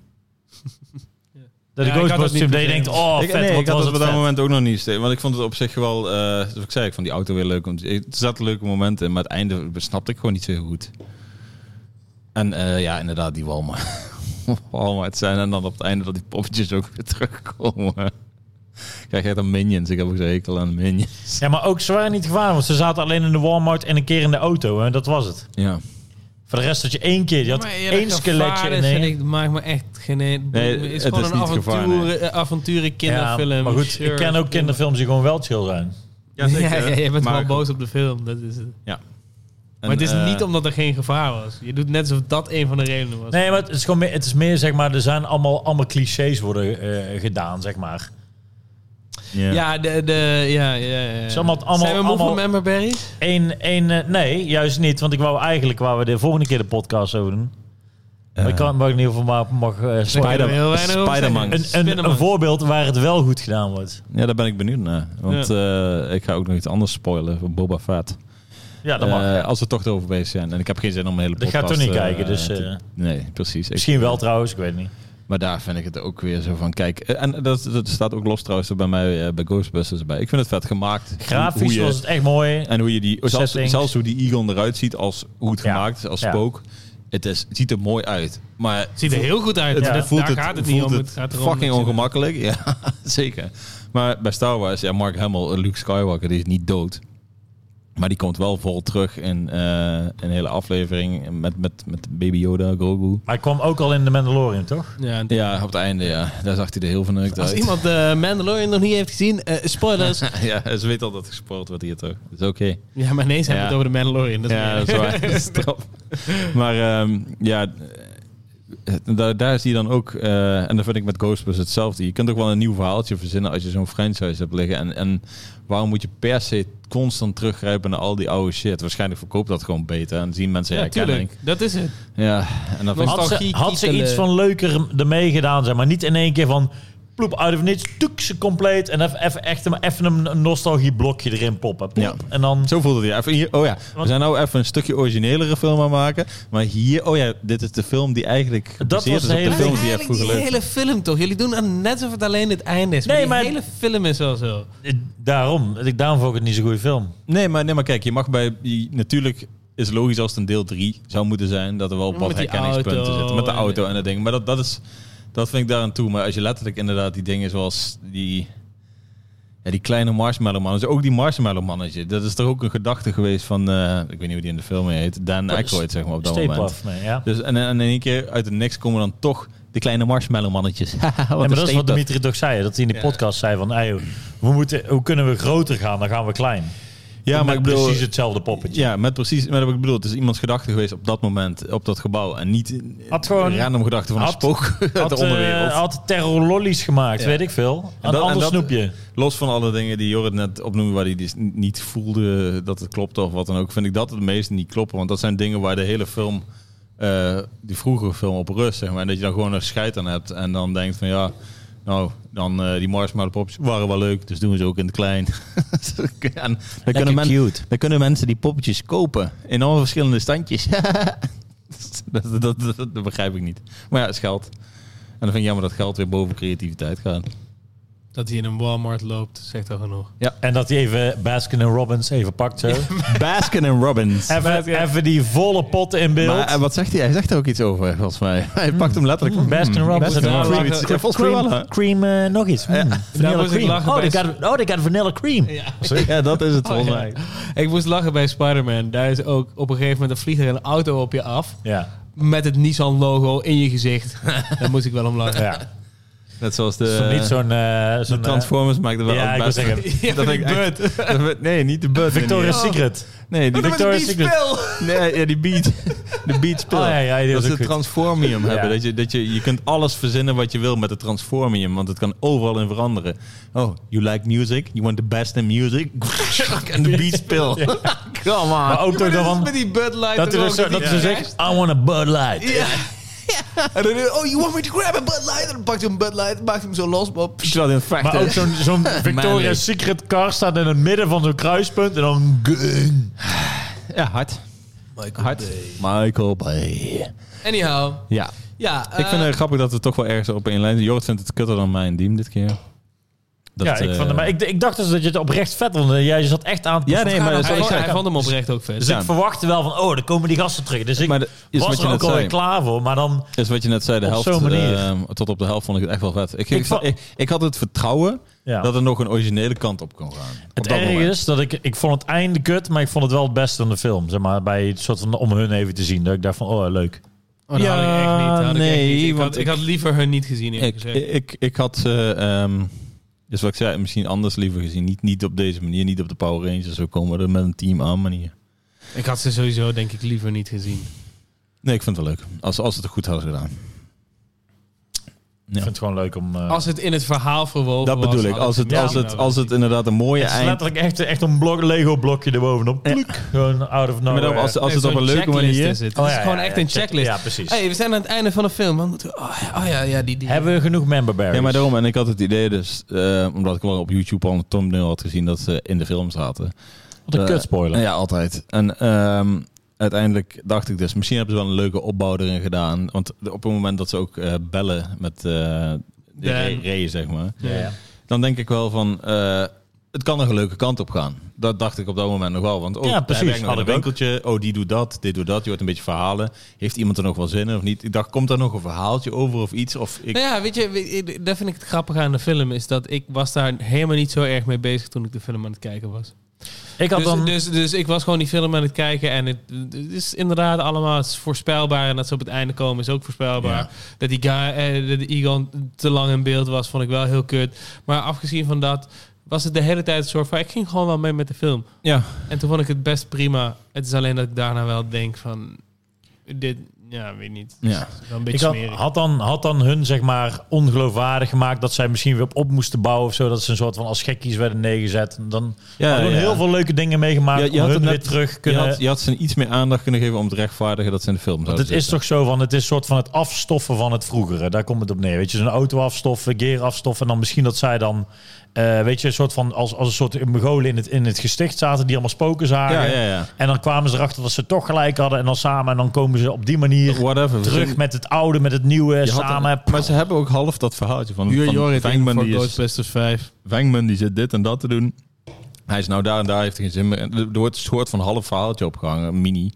Speaker 2: Dat de
Speaker 3: Ja, ik had
Speaker 2: Ghostbusters
Speaker 3: dat
Speaker 2: dat
Speaker 3: niet
Speaker 2: je
Speaker 3: per se.
Speaker 2: denkt, oh
Speaker 1: ik,
Speaker 2: vet,
Speaker 1: nee,
Speaker 2: wat
Speaker 1: ik had
Speaker 2: was
Speaker 1: het
Speaker 2: het
Speaker 1: op dat
Speaker 2: vet.
Speaker 1: moment ook nog niet. steeds, Want ik vond het op zich wel, eh, zoals ik zei, ik vond die auto weer leuk. om te- Het zat leuke momenten in, maar het einde snapte ik gewoon niet zo heel goed. En eh, ja, inderdaad, die Walmart. [LAUGHS] Walmart zijn en dan op het einde dat die poppetjes ook weer terugkomen. Krijg je dan minions? Ik heb ook zo'n hekel aan minions.
Speaker 2: Ja, maar ook, ze waren niet gevaarlijk. Want ze zaten alleen in de Walmart en een keer in de auto. En dat was het.
Speaker 1: Ja.
Speaker 2: Voor de rest had je één keer. Je had één skeletje in één.
Speaker 3: Ik maak me echt geen.
Speaker 1: Nee,
Speaker 3: het is
Speaker 1: het
Speaker 3: gewoon
Speaker 1: is
Speaker 3: een
Speaker 1: niet
Speaker 3: avontuur,
Speaker 1: gevaar,
Speaker 3: eh, avonturen kinderfilm.
Speaker 2: maar goed,
Speaker 3: Sure.
Speaker 2: ik ken ook kinderfilms die gewoon wel chill zijn.
Speaker 1: [LAUGHS]
Speaker 3: Ja, [LAUGHS] ja, je bent
Speaker 1: maar
Speaker 3: wel
Speaker 1: goed.
Speaker 3: boos op de film. Dat is het.
Speaker 1: En,
Speaker 3: maar het is
Speaker 1: eh,
Speaker 3: niet omdat er geen gevaar was. Je doet net alsof dat een van de redenen was.
Speaker 2: Nee, maar het is gewoon meer, het is meer zeg maar, er zijn allemaal, allemaal clichés worden eh, gedaan, zeg maar.
Speaker 1: Ja.
Speaker 3: Ja, de, de, ja, ja, ja. ja.
Speaker 2: Is allemaal- allemaal-
Speaker 3: Zijn we moe
Speaker 2: allemaal-
Speaker 3: van Amber Berries?
Speaker 2: Eén, één, eh, nee, juist niet, want ik wou eigenlijk, waar we de volgende keer de podcast over doen. maar ik kan maar in ieder geval maar mag, eh,
Speaker 1: Spider-
Speaker 3: Daar kunnen we heel weinig over
Speaker 1: Spider-Man.
Speaker 3: zeggen.
Speaker 2: een, een, een
Speaker 3: Spinnenman.
Speaker 2: voorbeeld waar het wel goed gedaan wordt.
Speaker 1: Ja, daar ben ik benieuwd naar. Want eh, ik ga ook nog iets anders spoilen van Boba Fett.
Speaker 2: Ja, dat mag.
Speaker 1: Eh, als we toch erover bezig zijn. En ik heb geen zin om een hele
Speaker 2: Dat
Speaker 1: podcast...
Speaker 2: gaat toch niet
Speaker 1: eh,
Speaker 2: kijken, dus,
Speaker 1: te-
Speaker 2: eh,
Speaker 1: nee, precies. Ik,
Speaker 2: Misschien wel trouwens, ik weet niet.
Speaker 1: maar daar vind ik het ook weer zo van... Kijk, eh, en dat, dat staat ook los trouwens bij mij eh, bij Ghostbusters bij. Ik vind het vet gemaakt. Hoe-
Speaker 2: Grafisch
Speaker 1: hoe je-
Speaker 2: was het echt mooi.
Speaker 1: En hoe je die... Zelfs,
Speaker 2: Settings.
Speaker 1: zelfs hoe die Egon eruit ziet, als hoe het
Speaker 2: Ja,
Speaker 1: gemaakt is, als
Speaker 2: ja.
Speaker 1: spook. Het, is, het ziet er mooi uit. Maar
Speaker 3: Het ziet er heel goed uit.
Speaker 1: het
Speaker 3: maar dat-
Speaker 1: voelt
Speaker 3: daar
Speaker 1: het,
Speaker 3: gaat het
Speaker 1: voelt
Speaker 3: niet om.
Speaker 1: het
Speaker 3: Het gaat erom
Speaker 1: fucking
Speaker 3: dat je-
Speaker 1: ongemakkelijk. [LAUGHS] Ja, zeker. Maar bij Star Wars, ja, Mark Hamill, eh, Luke Skywalker, die is niet dood. Maar die komt wel vol terug in eh, een hele aflevering met, met, met Baby Yoda, Grogu.
Speaker 2: Maar ik kwam ook al in de Mandalorian, toch?
Speaker 3: Ja, en-
Speaker 1: Ja, op het einde, ja. Daar zag hij er heel verneukt
Speaker 3: als
Speaker 1: uit.
Speaker 3: iemand de Mandalorian nog niet heeft gezien, eh, spoilers.
Speaker 1: [LAUGHS] ja, ze weet al dat er gespoord wordt hier toch. Dat is oké.
Speaker 3: ja, maar ineens hebben we
Speaker 1: Ja.
Speaker 3: het over de Mandalorian. Dat is
Speaker 1: Ja,
Speaker 3: waar.
Speaker 1: dat is waar. Dat is trap. Maar ehm, ja, eh, daar, daar is die dan ook. eh, en dat vind ik met Ghostbusters hetzelfde. Je kunt ook wel een nieuw verhaaltje verzinnen als je zo'n franchise hebt liggen. En, en waarom moet je per se constant teruggrijpen naar al die oude shit? Waarschijnlijk verkoopt dat gewoon beter en zien mensen
Speaker 3: [LAUGHS] Ja,
Speaker 1: herkenning.
Speaker 3: tuurlijk. Dat is het.
Speaker 1: Ja, en dan vind ik
Speaker 2: Had ze,
Speaker 3: Nostalgie
Speaker 2: had ze
Speaker 3: kietelen.
Speaker 2: iets van leuker ermee gedaan, zeg maar. Niet in één keer van ploep, uit of niets, tuk ze compleet. En even, even, echt een, even een nostalgieblokje erin poppen. Plop.
Speaker 1: Ja.
Speaker 2: En dan...
Speaker 1: Zo voelde hij. Even hier, oh ja, we zijn nou even een stukje originelere film aan maken. Maar hier, oh ja, dit is de film die eigenlijk gebaseerd is
Speaker 2: was de
Speaker 1: op de
Speaker 2: hele-
Speaker 1: film
Speaker 3: Maar
Speaker 1: die je hebt
Speaker 3: eigenlijk
Speaker 1: vroeger leuk.
Speaker 3: hele film toch? Jullie doen aan net alsof het alleen het einde is.
Speaker 2: Nee,
Speaker 3: die
Speaker 2: maar-
Speaker 3: hele film is al zo.
Speaker 2: Eh, Daarom. Ik- Daarom vond ik het niet zo'n goede film.
Speaker 1: Nee maar, nee, maar kijk, je mag bij. je- natuurlijk is logisch als het een deel 3 zou moeten zijn. Dat er wel op wat
Speaker 3: Met die
Speaker 1: herkenningspunten
Speaker 3: auto
Speaker 1: zitten. Met de
Speaker 3: en-
Speaker 1: auto en dat ding. Maar dat, dat is. Dat vind ik daar aan toe. Maar als je letterlijk inderdaad die dingen zoals die. Ja, die kleine marshmallow man. Dus ook die marshmallow mannetje. Dat is toch ook een gedachte geweest van. eh, ik weet niet hoe die in de film heet. Dan Aykroyd, zeg maar op dat
Speaker 2: Stay
Speaker 1: moment.
Speaker 2: puft, nee, ja.
Speaker 1: Dus en, en in één keer uit de niks komen dan toch de kleine marshmallow mannetjes. [LAUGHS] Haha, wat
Speaker 2: Nee,
Speaker 1: een
Speaker 2: maar dat is wat
Speaker 1: steenpuft.
Speaker 2: Dimitri toch zei. Dat hij in de podcast zei van... "Ey, we moeten, hoe kunnen we groter gaan? Dan gaan we klein.
Speaker 1: Ja,
Speaker 2: Met
Speaker 1: maar ik bedoel,
Speaker 2: Precies hetzelfde poppetje.
Speaker 1: Ja, met precies met wat ik bedoel. Het is iemands gedachte geweest op dat moment, op dat gebouw. En niet in-
Speaker 2: Had gewoon-
Speaker 1: een random gedachte van een
Speaker 2: had-
Speaker 1: spook [LAUGHS] uit [LAUGHS] de
Speaker 2: Had, eh,
Speaker 1: onderwereld.
Speaker 2: had terrorlollies gemaakt, weet ik veel. Een
Speaker 1: dat- en
Speaker 2: ander
Speaker 1: dat-
Speaker 2: snoepje.
Speaker 1: Los van alle dingen die Jorrit net opnoemde, waar hij dus n- niet voelde dat het klopte of wat dan ook, vind ik dat het meeste niet kloppen. Want dat zijn dingen waar de hele film, eh, die vroegere film op rust, zeg maar. En dat je dan gewoon een scheid aan hebt en dan denkt van ja, nou, dan eh, die marshmallow popjes waren wel leuk, dus doen we ze ook in het klein. [LAUGHS] en dan kunnen, men-
Speaker 2: cute.
Speaker 1: dan kunnen mensen die poppetjes kopen in alle verschillende standjes. [LAUGHS] dat, dat, dat, dat- dat begrijp ik niet. Maar ja, het is geld. En dan vind ik jammer dat geld weer boven creativiteit gaat.
Speaker 3: Dat hij in een Walmart loopt, zegt al genoeg.
Speaker 2: En dat hij even Baskin en Robbins even
Speaker 1: [LAUGHS]
Speaker 2: pakt zo.
Speaker 1: Baskin en Robbins.
Speaker 2: Even, even die volle pot in beeld.
Speaker 1: Maar eh, wat zegt hij? Hij zegt er ook iets over, volgens mij. [LAUGHS] Hij pakt hem letterlijk. van,
Speaker 2: Baskin
Speaker 1: hmm,
Speaker 2: Robbins.
Speaker 1: Baskin
Speaker 3: Ja,
Speaker 1: Robbins.
Speaker 3: lachen.
Speaker 1: Zoiets. Ja, volgens mij wel, hè?
Speaker 2: cream eh, nog iets. Mm. Vanilla
Speaker 3: moest ik
Speaker 2: cream.
Speaker 3: lachen
Speaker 2: Oh,
Speaker 3: bij
Speaker 2: they got, oh, they got vanilla cream.
Speaker 3: Ja.
Speaker 2: [LAUGHS]
Speaker 1: Ja, dat is het
Speaker 3: Oh,
Speaker 1: volgens
Speaker 3: ja.
Speaker 1: mij.
Speaker 3: [LAUGHS] Ik moest lachen bij Spider-Man. Daar is ook op een gegeven moment een vlieger een auto op je af.
Speaker 2: Ja.
Speaker 3: Met het Nissan-logo in je [LAUGHS] gezicht. Daar moest ik wel om lachen.
Speaker 2: [LAUGHS] ja.
Speaker 1: Net zoals
Speaker 2: Zo
Speaker 1: de,
Speaker 2: niet zo'n... eh
Speaker 1: de
Speaker 2: zo'n eh,
Speaker 1: Transformers maakten wel
Speaker 2: ja, ik
Speaker 1: ook
Speaker 2: wil
Speaker 1: best-
Speaker 2: zeggen.
Speaker 3: Ja,
Speaker 1: Dat
Speaker 3: die
Speaker 1: [LAUGHS] ik echt-
Speaker 3: bird.
Speaker 1: dat we- Nee, niet de Bud.
Speaker 2: Victoria's Secret. Oh,
Speaker 1: Nee, die,
Speaker 3: Dat was een
Speaker 2: Victoria's Secret.
Speaker 3: spel.
Speaker 1: nee, ja, die
Speaker 2: [LAUGHS]
Speaker 1: beat. De beat speel.
Speaker 2: Oh, ja, ja, die
Speaker 1: dat
Speaker 2: was
Speaker 1: ze
Speaker 2: ook
Speaker 1: het
Speaker 2: goed.
Speaker 1: Transformium
Speaker 2: Ja.
Speaker 1: hebben. Dat je, dat je, je kunt alles verzinnen wat je wil met het Transformium. Want het kan overal in [LAUGHS]
Speaker 2: [LAUGHS]
Speaker 1: veranderen. Oh, you like music? You want the best in music? en de beat speel. Come on.
Speaker 2: Maar ook door
Speaker 1: dat is
Speaker 2: dan
Speaker 1: met die Bud Light.
Speaker 2: dat hij
Speaker 1: er
Speaker 2: dan
Speaker 1: ook, dus
Speaker 2: zo- dat
Speaker 1: die
Speaker 2: hij zo
Speaker 1: krijgt.
Speaker 2: zegt, I want a Bud Light.
Speaker 1: En dan, oh, you want me to grab a Bud Light? En dan pakt hij een Bud Light, maakt hem zo los. Maar, pff, terwijl hij een
Speaker 2: Maar ook zo'n zo'n
Speaker 1: Manly.
Speaker 2: Victoria's Secret car staat in het midden van zo'n kruispunt en dan... gun.
Speaker 1: Ja, hard.
Speaker 4: Michael
Speaker 1: Hard.
Speaker 4: Bay.
Speaker 1: Michael Bay.
Speaker 4: Anyhow.
Speaker 1: Ja.
Speaker 4: Ja,
Speaker 1: ik
Speaker 3: eh,
Speaker 1: vind het grappig dat we toch wel ergens op één lijn zijn. Jorrit vindt het kutter dan mijn diem dit keer. Dat,
Speaker 2: ja, ik,
Speaker 1: eh,
Speaker 2: vond, maar ik, ik dacht dus dat je het oprecht vet vond. Jij zat echt aan te
Speaker 1: Ja, nee, maar dat
Speaker 3: hij,
Speaker 1: is
Speaker 3: hij vond hem oprecht ook vet.
Speaker 2: Dus
Speaker 1: Ja.
Speaker 2: ik verwachtte wel van, oh, er komen die gasten terug. Dus ik
Speaker 1: Maar dat is
Speaker 2: was
Speaker 1: wat je
Speaker 2: er
Speaker 1: net
Speaker 2: ook alweer
Speaker 1: zei.
Speaker 2: klaar voor. Maar dan,
Speaker 1: is wat je net zei, de
Speaker 2: Op
Speaker 1: helft,
Speaker 2: zo'n manier.
Speaker 1: eh, tot op de helft vond ik het echt wel vet. Ik, ging-
Speaker 2: Ik vond-
Speaker 1: ik, ik had het vertrouwen
Speaker 2: ja.
Speaker 1: dat er nog een originele kant op kon gaan. Op
Speaker 2: het
Speaker 1: dat
Speaker 2: erg
Speaker 1: moment.
Speaker 2: is dat ik, ik vond het einde kut, maar ik vond het wel het beste van de film. Zeg maar, bij het soort van, om hun even te zien. Dat ik dacht van, oh, leuk.
Speaker 3: Oh, dat
Speaker 1: Ja,
Speaker 3: had ik echt niet. dat had ik echt
Speaker 1: nee,
Speaker 3: niet. Ik,
Speaker 1: want
Speaker 3: had, ik
Speaker 1: ik-
Speaker 3: had liever hun niet gezien, eerlijk
Speaker 1: Ik,
Speaker 3: gezegd.
Speaker 1: ik, ik, ik had ze, ehm, dus wat ik zei, misschien anders liever gezien. Niet, niet op deze manier, niet op de Power Rangers. Zo komen we er met een team aan manier.
Speaker 3: Ik had ze sowieso, denk ik, liever niet gezien.
Speaker 1: Nee, ik vind het wel leuk. Als, als ze het goed hadden gedaan. Ja.
Speaker 2: Ik vind het gewoon leuk om... eh,
Speaker 3: Als het in het verhaal verwoven
Speaker 1: Dat
Speaker 3: was,
Speaker 1: bedoel ik.
Speaker 3: had
Speaker 1: Als het,
Speaker 2: Ja,
Speaker 1: als het, als het inderdaad een mooie
Speaker 2: het is
Speaker 1: eind...
Speaker 2: letterlijk echt, echt een blok, Lego-blokje erbovenop. Pluk, Gewoon out of
Speaker 1: Maar
Speaker 2: nowhere.
Speaker 1: dan als, als
Speaker 3: Nee,
Speaker 1: het op
Speaker 3: zo'n
Speaker 1: een leuke
Speaker 3: checklist
Speaker 1: manier...
Speaker 3: Is het.
Speaker 2: Oh,
Speaker 3: Het
Speaker 2: ja,
Speaker 3: is gewoon
Speaker 2: ja,
Speaker 3: echt
Speaker 2: ja,
Speaker 3: een
Speaker 2: check-
Speaker 3: checklist.
Speaker 2: ja, precies.
Speaker 3: hey, we zijn aan het einde van de film. Wat moeten we- oh, ja, oh ja, ja, die, die.
Speaker 2: Hebben we genoeg member berries?
Speaker 1: Ja, maar daarom. En ik had het idee dus, eh, omdat ik wel op YouTube al een thumbnail had gezien dat ze in de film zaten.
Speaker 2: Wat een
Speaker 1: Eh,
Speaker 2: kutspoiler.
Speaker 1: Ja, altijd. En ehm, uiteindelijk dacht ik dus, misschien hebben ze wel een leuke opbouw erin gedaan. Want op het moment dat ze ook eh, bellen met eh de
Speaker 3: Dan.
Speaker 1: re- reeën, zeg maar.
Speaker 2: Ja, ja.
Speaker 1: Dan denk ik wel van, eh, het kan nog een leuke kant op gaan. Dat dacht ik op dat moment nog wel. Want oh,
Speaker 2: Ja,
Speaker 1: daar
Speaker 2: precies.
Speaker 1: werkt nog
Speaker 2: Had
Speaker 1: een
Speaker 2: ik ook.
Speaker 1: winkeltje. Oh, die doet dat, dit doet dat. Je hoort een beetje verhalen. Heeft iemand er nog wel zin in of niet? Ik dacht, komt daar nog een verhaaltje over of iets? Of ik,
Speaker 3: Nou ja, weet je, we- eh, dat vind ik het grappige aan de film. Is dat ik was daar helemaal niet zo erg mee bezig toen ik de film aan het kijken was.
Speaker 2: Ik had
Speaker 3: Dus,
Speaker 2: dan...
Speaker 3: dus, dus ik was gewoon die film aan het kijken. En het, het is inderdaad allemaal het is voorspelbaar. En dat ze op het einde komen is ook voorspelbaar.
Speaker 1: Ja.
Speaker 3: Dat die guy, eh, dat de Egon te lang in beeld was, vond ik wel heel kut. Maar afgezien van dat, was het de hele tijd een soort van... Ik ging gewoon wel mee met de film.
Speaker 1: ja.
Speaker 3: En toen vond ik het best prima. Het is alleen dat ik daarna wel denk van... Dit, ja, weet niet.
Speaker 1: Ja.
Speaker 3: Het is wel een
Speaker 2: Ik
Speaker 3: beetje
Speaker 2: had,
Speaker 3: smerig.
Speaker 2: had, dan, had dan hun, zeg maar, ongeloofwaardig gemaakt dat zij misschien weer op, op moesten bouwen of zo. Dat ze een soort van als gekkies werden neergezet. En dan
Speaker 1: Ja,
Speaker 2: hadden we
Speaker 1: ja.
Speaker 2: heel veel leuke dingen meegemaakt.
Speaker 1: Ja, je
Speaker 2: om
Speaker 1: had
Speaker 2: hun
Speaker 1: het
Speaker 2: weer
Speaker 1: net-
Speaker 2: terug
Speaker 1: Je
Speaker 2: kunnen.
Speaker 1: had, je had ze iets meer aandacht kunnen geven om te rechtvaardigen dat ze in de film
Speaker 2: Want
Speaker 1: zouden
Speaker 2: het is
Speaker 1: zitten.
Speaker 2: toch zo van, het is soort van het afstoffen van het vroegere. Daar komt het op neer. Weet je, zo'n auto afstoffen, gear afstoffen. En dan misschien dat zij dan, eh, weet je, een soort van als, als een soort mogolen in het, in het gesticht zaten. Die allemaal spoken zagen.
Speaker 1: Ja, ja, ja.
Speaker 2: En dan kwamen ze erachter dat ze toch gelijk hadden. En dan samen, en dan komen ze op die manier
Speaker 1: Whatever.
Speaker 2: terug met het oude, met het nieuwe,
Speaker 1: Je had
Speaker 2: samen.
Speaker 1: een- maar ze hebben ook half dat verhaaltje van,
Speaker 3: Huur
Speaker 1: van
Speaker 3: Jorrit in
Speaker 1: Venkman
Speaker 3: voor
Speaker 1: die, is,
Speaker 3: Ghostbusters 5.
Speaker 1: Venkman die zit dit en dat te doen. Hij is nou daar en daar, heeft er geen zin meer. En Er wordt een soort van half verhaaltje opgehangen, een mini.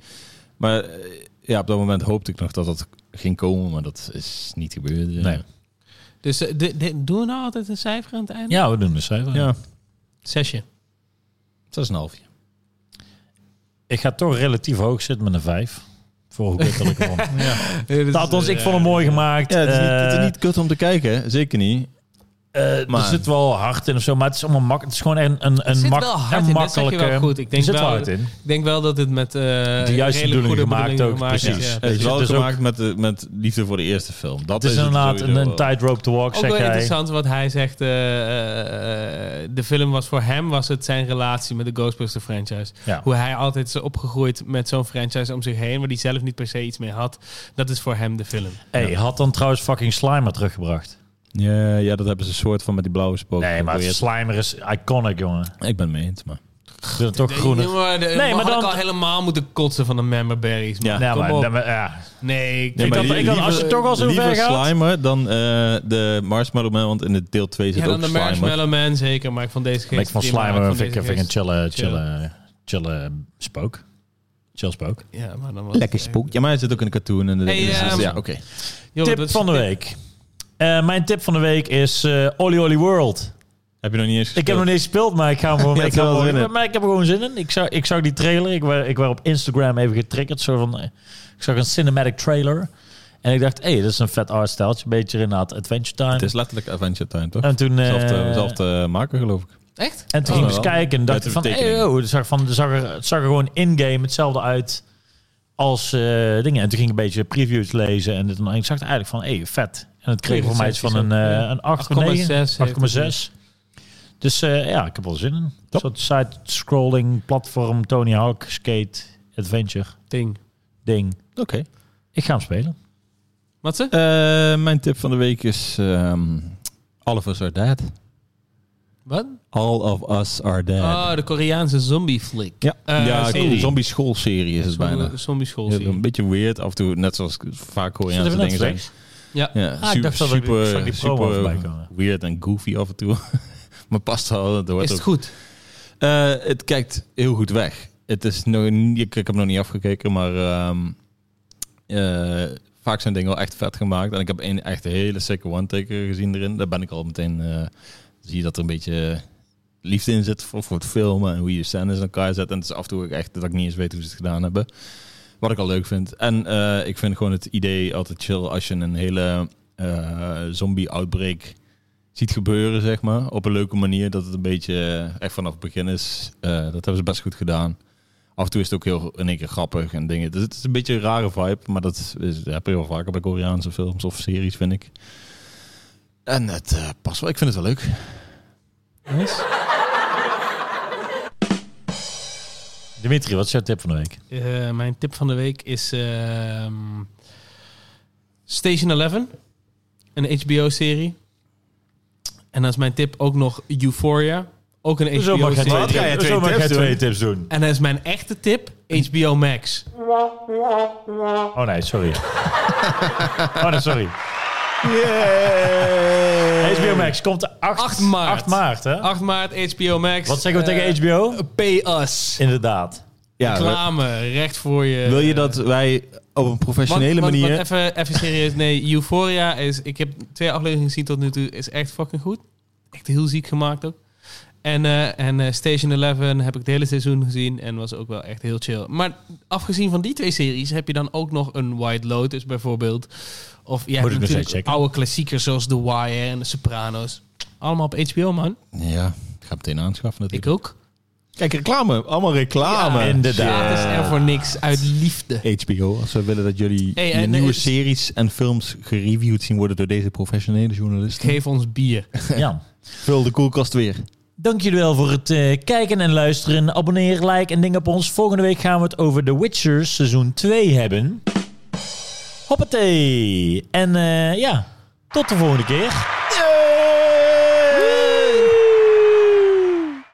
Speaker 1: Maar eh, ja, op dat moment hoopte ik nog dat dat ging komen, maar dat is niet gebeurd. eh.
Speaker 2: Nee.
Speaker 3: Dus eh, de- de- doen we nou altijd een cijfer aan het einde?
Speaker 2: Ja, we doen dus even.
Speaker 1: Ja,
Speaker 3: Zesje.
Speaker 1: dat is een halfje.
Speaker 2: Ik ga toch relatief hoog zitten met een 5. Vorige keer dat ik
Speaker 1: [LAUGHS]
Speaker 2: hem vond. Althans,
Speaker 1: eh,
Speaker 2: ik vond hem mooi gemaakt.
Speaker 1: dus, Ja, het is, niet, het
Speaker 2: Eh,
Speaker 1: is niet kut om te kijken, zeker niet.
Speaker 2: eh,
Speaker 1: maar-
Speaker 2: Er zit wel hard in of zo, maar het is allemaal mak. Het is gewoon een, een,
Speaker 3: Er
Speaker 2: een,
Speaker 3: zit
Speaker 2: mak
Speaker 3: wel hard
Speaker 2: een
Speaker 3: in, dat zeg je wel
Speaker 2: makkelijke.
Speaker 3: goed. Ik denk
Speaker 2: er zit
Speaker 3: wel-
Speaker 2: wel hard in.
Speaker 3: Ik denk wel dat het met eh de
Speaker 2: juiste bedoeling gemaakt ook, precies.
Speaker 1: Het is
Speaker 2: je,
Speaker 1: wel
Speaker 2: het is ook-
Speaker 1: gemaakt met, de- met liefde voor de eerste film. Dat
Speaker 2: Het is inderdaad een,
Speaker 1: sowieso
Speaker 2: een
Speaker 1: wel.
Speaker 2: tightrope to walk,
Speaker 3: Ook wel
Speaker 2: zeg jij.
Speaker 3: interessant wat hij zegt. eh, eh, de film was voor hem was het zijn relatie met de Ghostbuster franchise.
Speaker 2: Ja.
Speaker 3: Hoe hij altijd is opgegroeid met zo'n franchise om zich heen, waar hij zelf niet per se iets mee had. Dat is voor hem de film.
Speaker 2: Hey, had dan trouwens fucking Slimer teruggebracht?
Speaker 1: Ja, ja, dat hebben ze een soort van met die blauwe spook.
Speaker 2: Nee, maar Slimer is iconic, jongen.
Speaker 1: Ik ben mee eens, maar...
Speaker 2: Ik vind het toch groener.
Speaker 3: Nee, maar, de,
Speaker 2: maar
Speaker 3: had
Speaker 2: dan-
Speaker 3: ik al helemaal moeten kotsen van de member berries. man.
Speaker 1: Ja.
Speaker 2: Ja,
Speaker 3: Kom
Speaker 2: maar,
Speaker 3: op.
Speaker 2: dan- ja.
Speaker 3: nee,
Speaker 1: Nee,
Speaker 3: ik vind
Speaker 1: maar
Speaker 2: had-
Speaker 3: dat
Speaker 1: lie-
Speaker 2: ik had- als je toch al zo
Speaker 1: liever
Speaker 2: ver gaat-
Speaker 1: Slimer dan eh, de Marshmallow Man, want in het deel 2 zit
Speaker 3: ja, dan
Speaker 1: ook
Speaker 3: de
Speaker 1: Slimer.
Speaker 3: Marshmallow Man zeker, maar ik vond deze
Speaker 2: Maar
Speaker 3: geen
Speaker 2: ik van
Speaker 3: prima,
Speaker 2: Slimer
Speaker 3: vond
Speaker 2: vind ik
Speaker 3: deze
Speaker 2: vind ik een
Speaker 3: geen-
Speaker 2: chille,
Speaker 3: chill.
Speaker 2: chille, chille spook. Chill spook.
Speaker 3: Ja, maar dan was het-
Speaker 1: Ja, maar hij zit ook in de cartoon. En de,
Speaker 3: Hey,
Speaker 1: in de-
Speaker 3: ehm,
Speaker 1: ja, oké.
Speaker 3: Joh,
Speaker 2: tip
Speaker 3: dat is-
Speaker 2: van de week. Eh, mijn tip van de week is eh Olly Olly World.
Speaker 1: Heb je nog niet eens
Speaker 2: Ik heb nog niet eens gespeeld, maar ik ga hem
Speaker 1: [LAUGHS]
Speaker 2: gewoon
Speaker 1: Ja,
Speaker 2: ik
Speaker 1: ik
Speaker 2: ga
Speaker 1: wil
Speaker 2: hem
Speaker 1: wel
Speaker 2: gewoon-
Speaker 1: winnen.
Speaker 2: Maar ik heb er gewoon zin in. Ik zag, ik zag die trailer. Ik werd, ik werd op Instagram even getriggerd. Zo van, eh, ik zag een cinematic trailer. En ik dacht, hé, hey, dat is een vet artstijltje. Een beetje inderdaad Adventure Time.
Speaker 1: Het is letterlijk Adventure Time, toch?
Speaker 2: en toen, eh,
Speaker 1: Zelfde, zelfde maker, geloof ik.
Speaker 3: Echt?
Speaker 2: en toen
Speaker 1: Oh,
Speaker 2: ging ik eens
Speaker 1: wel.
Speaker 2: kijken en dacht
Speaker 1: Met
Speaker 2: ik van,
Speaker 1: de
Speaker 2: hey,
Speaker 1: tekeningen.
Speaker 2: oh, het zag, van, het zag er, het zag er gewoon in-game hetzelfde uit als eh, dingen. En toen ging ik een beetje previews lezen en, dit en, dat. en ik zag het eigenlijk van, hey, vet. En het kreeg voor mij iets van een, eh, een 8,9,
Speaker 3: 8,6 heeft het
Speaker 2: 8,6. Dus eh, ja, ik heb wel zin in. Een soort side-scrolling platform, Tony Hawk, skate, adventure,
Speaker 3: Ding.
Speaker 2: ding.
Speaker 1: Oké.
Speaker 2: Ik ga hem spelen.
Speaker 3: Matze?
Speaker 1: Eh, mijn tip van de week is... ehm All of Us Are Dead.
Speaker 3: Wat?
Speaker 1: All of Us Are Dead.
Speaker 3: Oh, de Koreaanse zombie flick.
Speaker 1: ja,
Speaker 3: eh,
Speaker 1: ja
Speaker 3: serie.
Speaker 1: een zombie schoolserie is het bijna.
Speaker 3: Zombie school.
Speaker 1: Ja, een beetje weird, af en toe, net zoals vaak Koreaanse dingen zijn.
Speaker 3: Ja.
Speaker 1: Ja,
Speaker 2: Ah, ik
Speaker 1: super,
Speaker 2: dacht dat ik- ik
Speaker 1: super,
Speaker 2: zag die promo voorbij komen.
Speaker 1: super weird en goofy af en toe. [LAUGHS] maar past wel. Het, hoort
Speaker 3: Is
Speaker 1: ook-
Speaker 3: het goed?
Speaker 1: Eh, het kijkt heel goed weg. Het is nog, niet- ik, ik heb hem nog niet afgekeken, maar ehm, eh, vaak zijn dingen wel echt vet gemaakt. En ik heb één echt hele sick one-taker gezien erin. Daar ben ik al meteen, eh, zie je dat er een beetje liefde in zit voor, voor het filmen en hoe je de scènes in elkaar zet. En het is af en toe ook echt dat ik niet eens weet hoe ze het gedaan hebben. Wat ik al leuk vind. En eh, ik vind gewoon het idee altijd chill als je een hele eh, zombie-outbreak ziet gebeuren, zeg maar. Op een leuke manier, dat het een beetje eh, echt vanaf het begin is. Eh, dat hebben ze best goed gedaan. Af en toe is het ook heel in één keer grappig en dingen. Dus het is een beetje een rare vibe, maar dat, is, dat heb je wel vaker bij Koreaanse films of series, vind ik. En het eh, past wel. Ik vind het wel leuk.
Speaker 2: Dimitri, wat is jouw tip van de week?
Speaker 3: Eh, mijn tip van de week is ehm, Station 11, een HBO-serie. En als mijn tip ook nog Euphoria, ook een
Speaker 2: Zo mag jij
Speaker 3: HBO-serie.
Speaker 4: Wat
Speaker 2: twee,
Speaker 4: ga je
Speaker 2: tips,
Speaker 4: twee
Speaker 2: zo mag
Speaker 4: tips
Speaker 2: jij
Speaker 4: doen?
Speaker 2: twee tips doen.
Speaker 3: En als mijn echte tip, HBO Max.
Speaker 2: Oh nee, sorry. oh nee, sorry. HBO Max komt 8,
Speaker 3: 8 maart. eh,
Speaker 2: 8 maart, hè?
Speaker 3: 8 maart, HBO Max.
Speaker 2: Wat zeggen we tegen HBO?
Speaker 3: Pay us.
Speaker 2: Inderdaad.
Speaker 1: Ja,
Speaker 3: Reclame, recht voor je.
Speaker 1: wil je dat wij op een professionele
Speaker 3: Want- want-
Speaker 1: manier...
Speaker 3: want even, even serieus. Nee, Euphoria is... Ik heb twee afleveringen gezien tot nu toe. Is echt fucking goed. Echt heel ziek gemaakt ook. En, eh, en eh, Station 11 heb ik het hele seizoen gezien. En was ook wel echt heel chill. Maar afgezien van die twee series heb je dan ook nog een White Lotus bijvoorbeeld. Of ja,
Speaker 2: Moet ik nog
Speaker 3: natuurlijk
Speaker 2: steeds checken.
Speaker 3: oude klassiekers zoals The Wire en The Sopranos. Allemaal op HBO, man.
Speaker 1: ja, ik ga meteen aanschaffen
Speaker 3: Ik
Speaker 1: natuurlijk.
Speaker 3: ook.
Speaker 1: Kijk, reclame. Allemaal reclame.
Speaker 3: Ja,
Speaker 2: Inderdaad.
Speaker 3: Het is er voor niks uit liefde.
Speaker 1: HBO, als we willen dat jullie
Speaker 3: Hey,
Speaker 1: je
Speaker 3: en eh,
Speaker 1: nieuwe
Speaker 3: is-
Speaker 1: series en films gereviewd zien worden door deze professionele
Speaker 3: [LAUGHS]
Speaker 1: journalisten.
Speaker 3: Geef ons bier.
Speaker 2: Jan.
Speaker 1: Vul de koelkast weer.
Speaker 2: Dank jullie wel voor het eh, kijken en luisteren. Abonneer, like en ding op ons. Volgende week gaan we het over The Witcher seizoen 2 hebben. Hoppatee. En eh, ja, tot de volgende keer.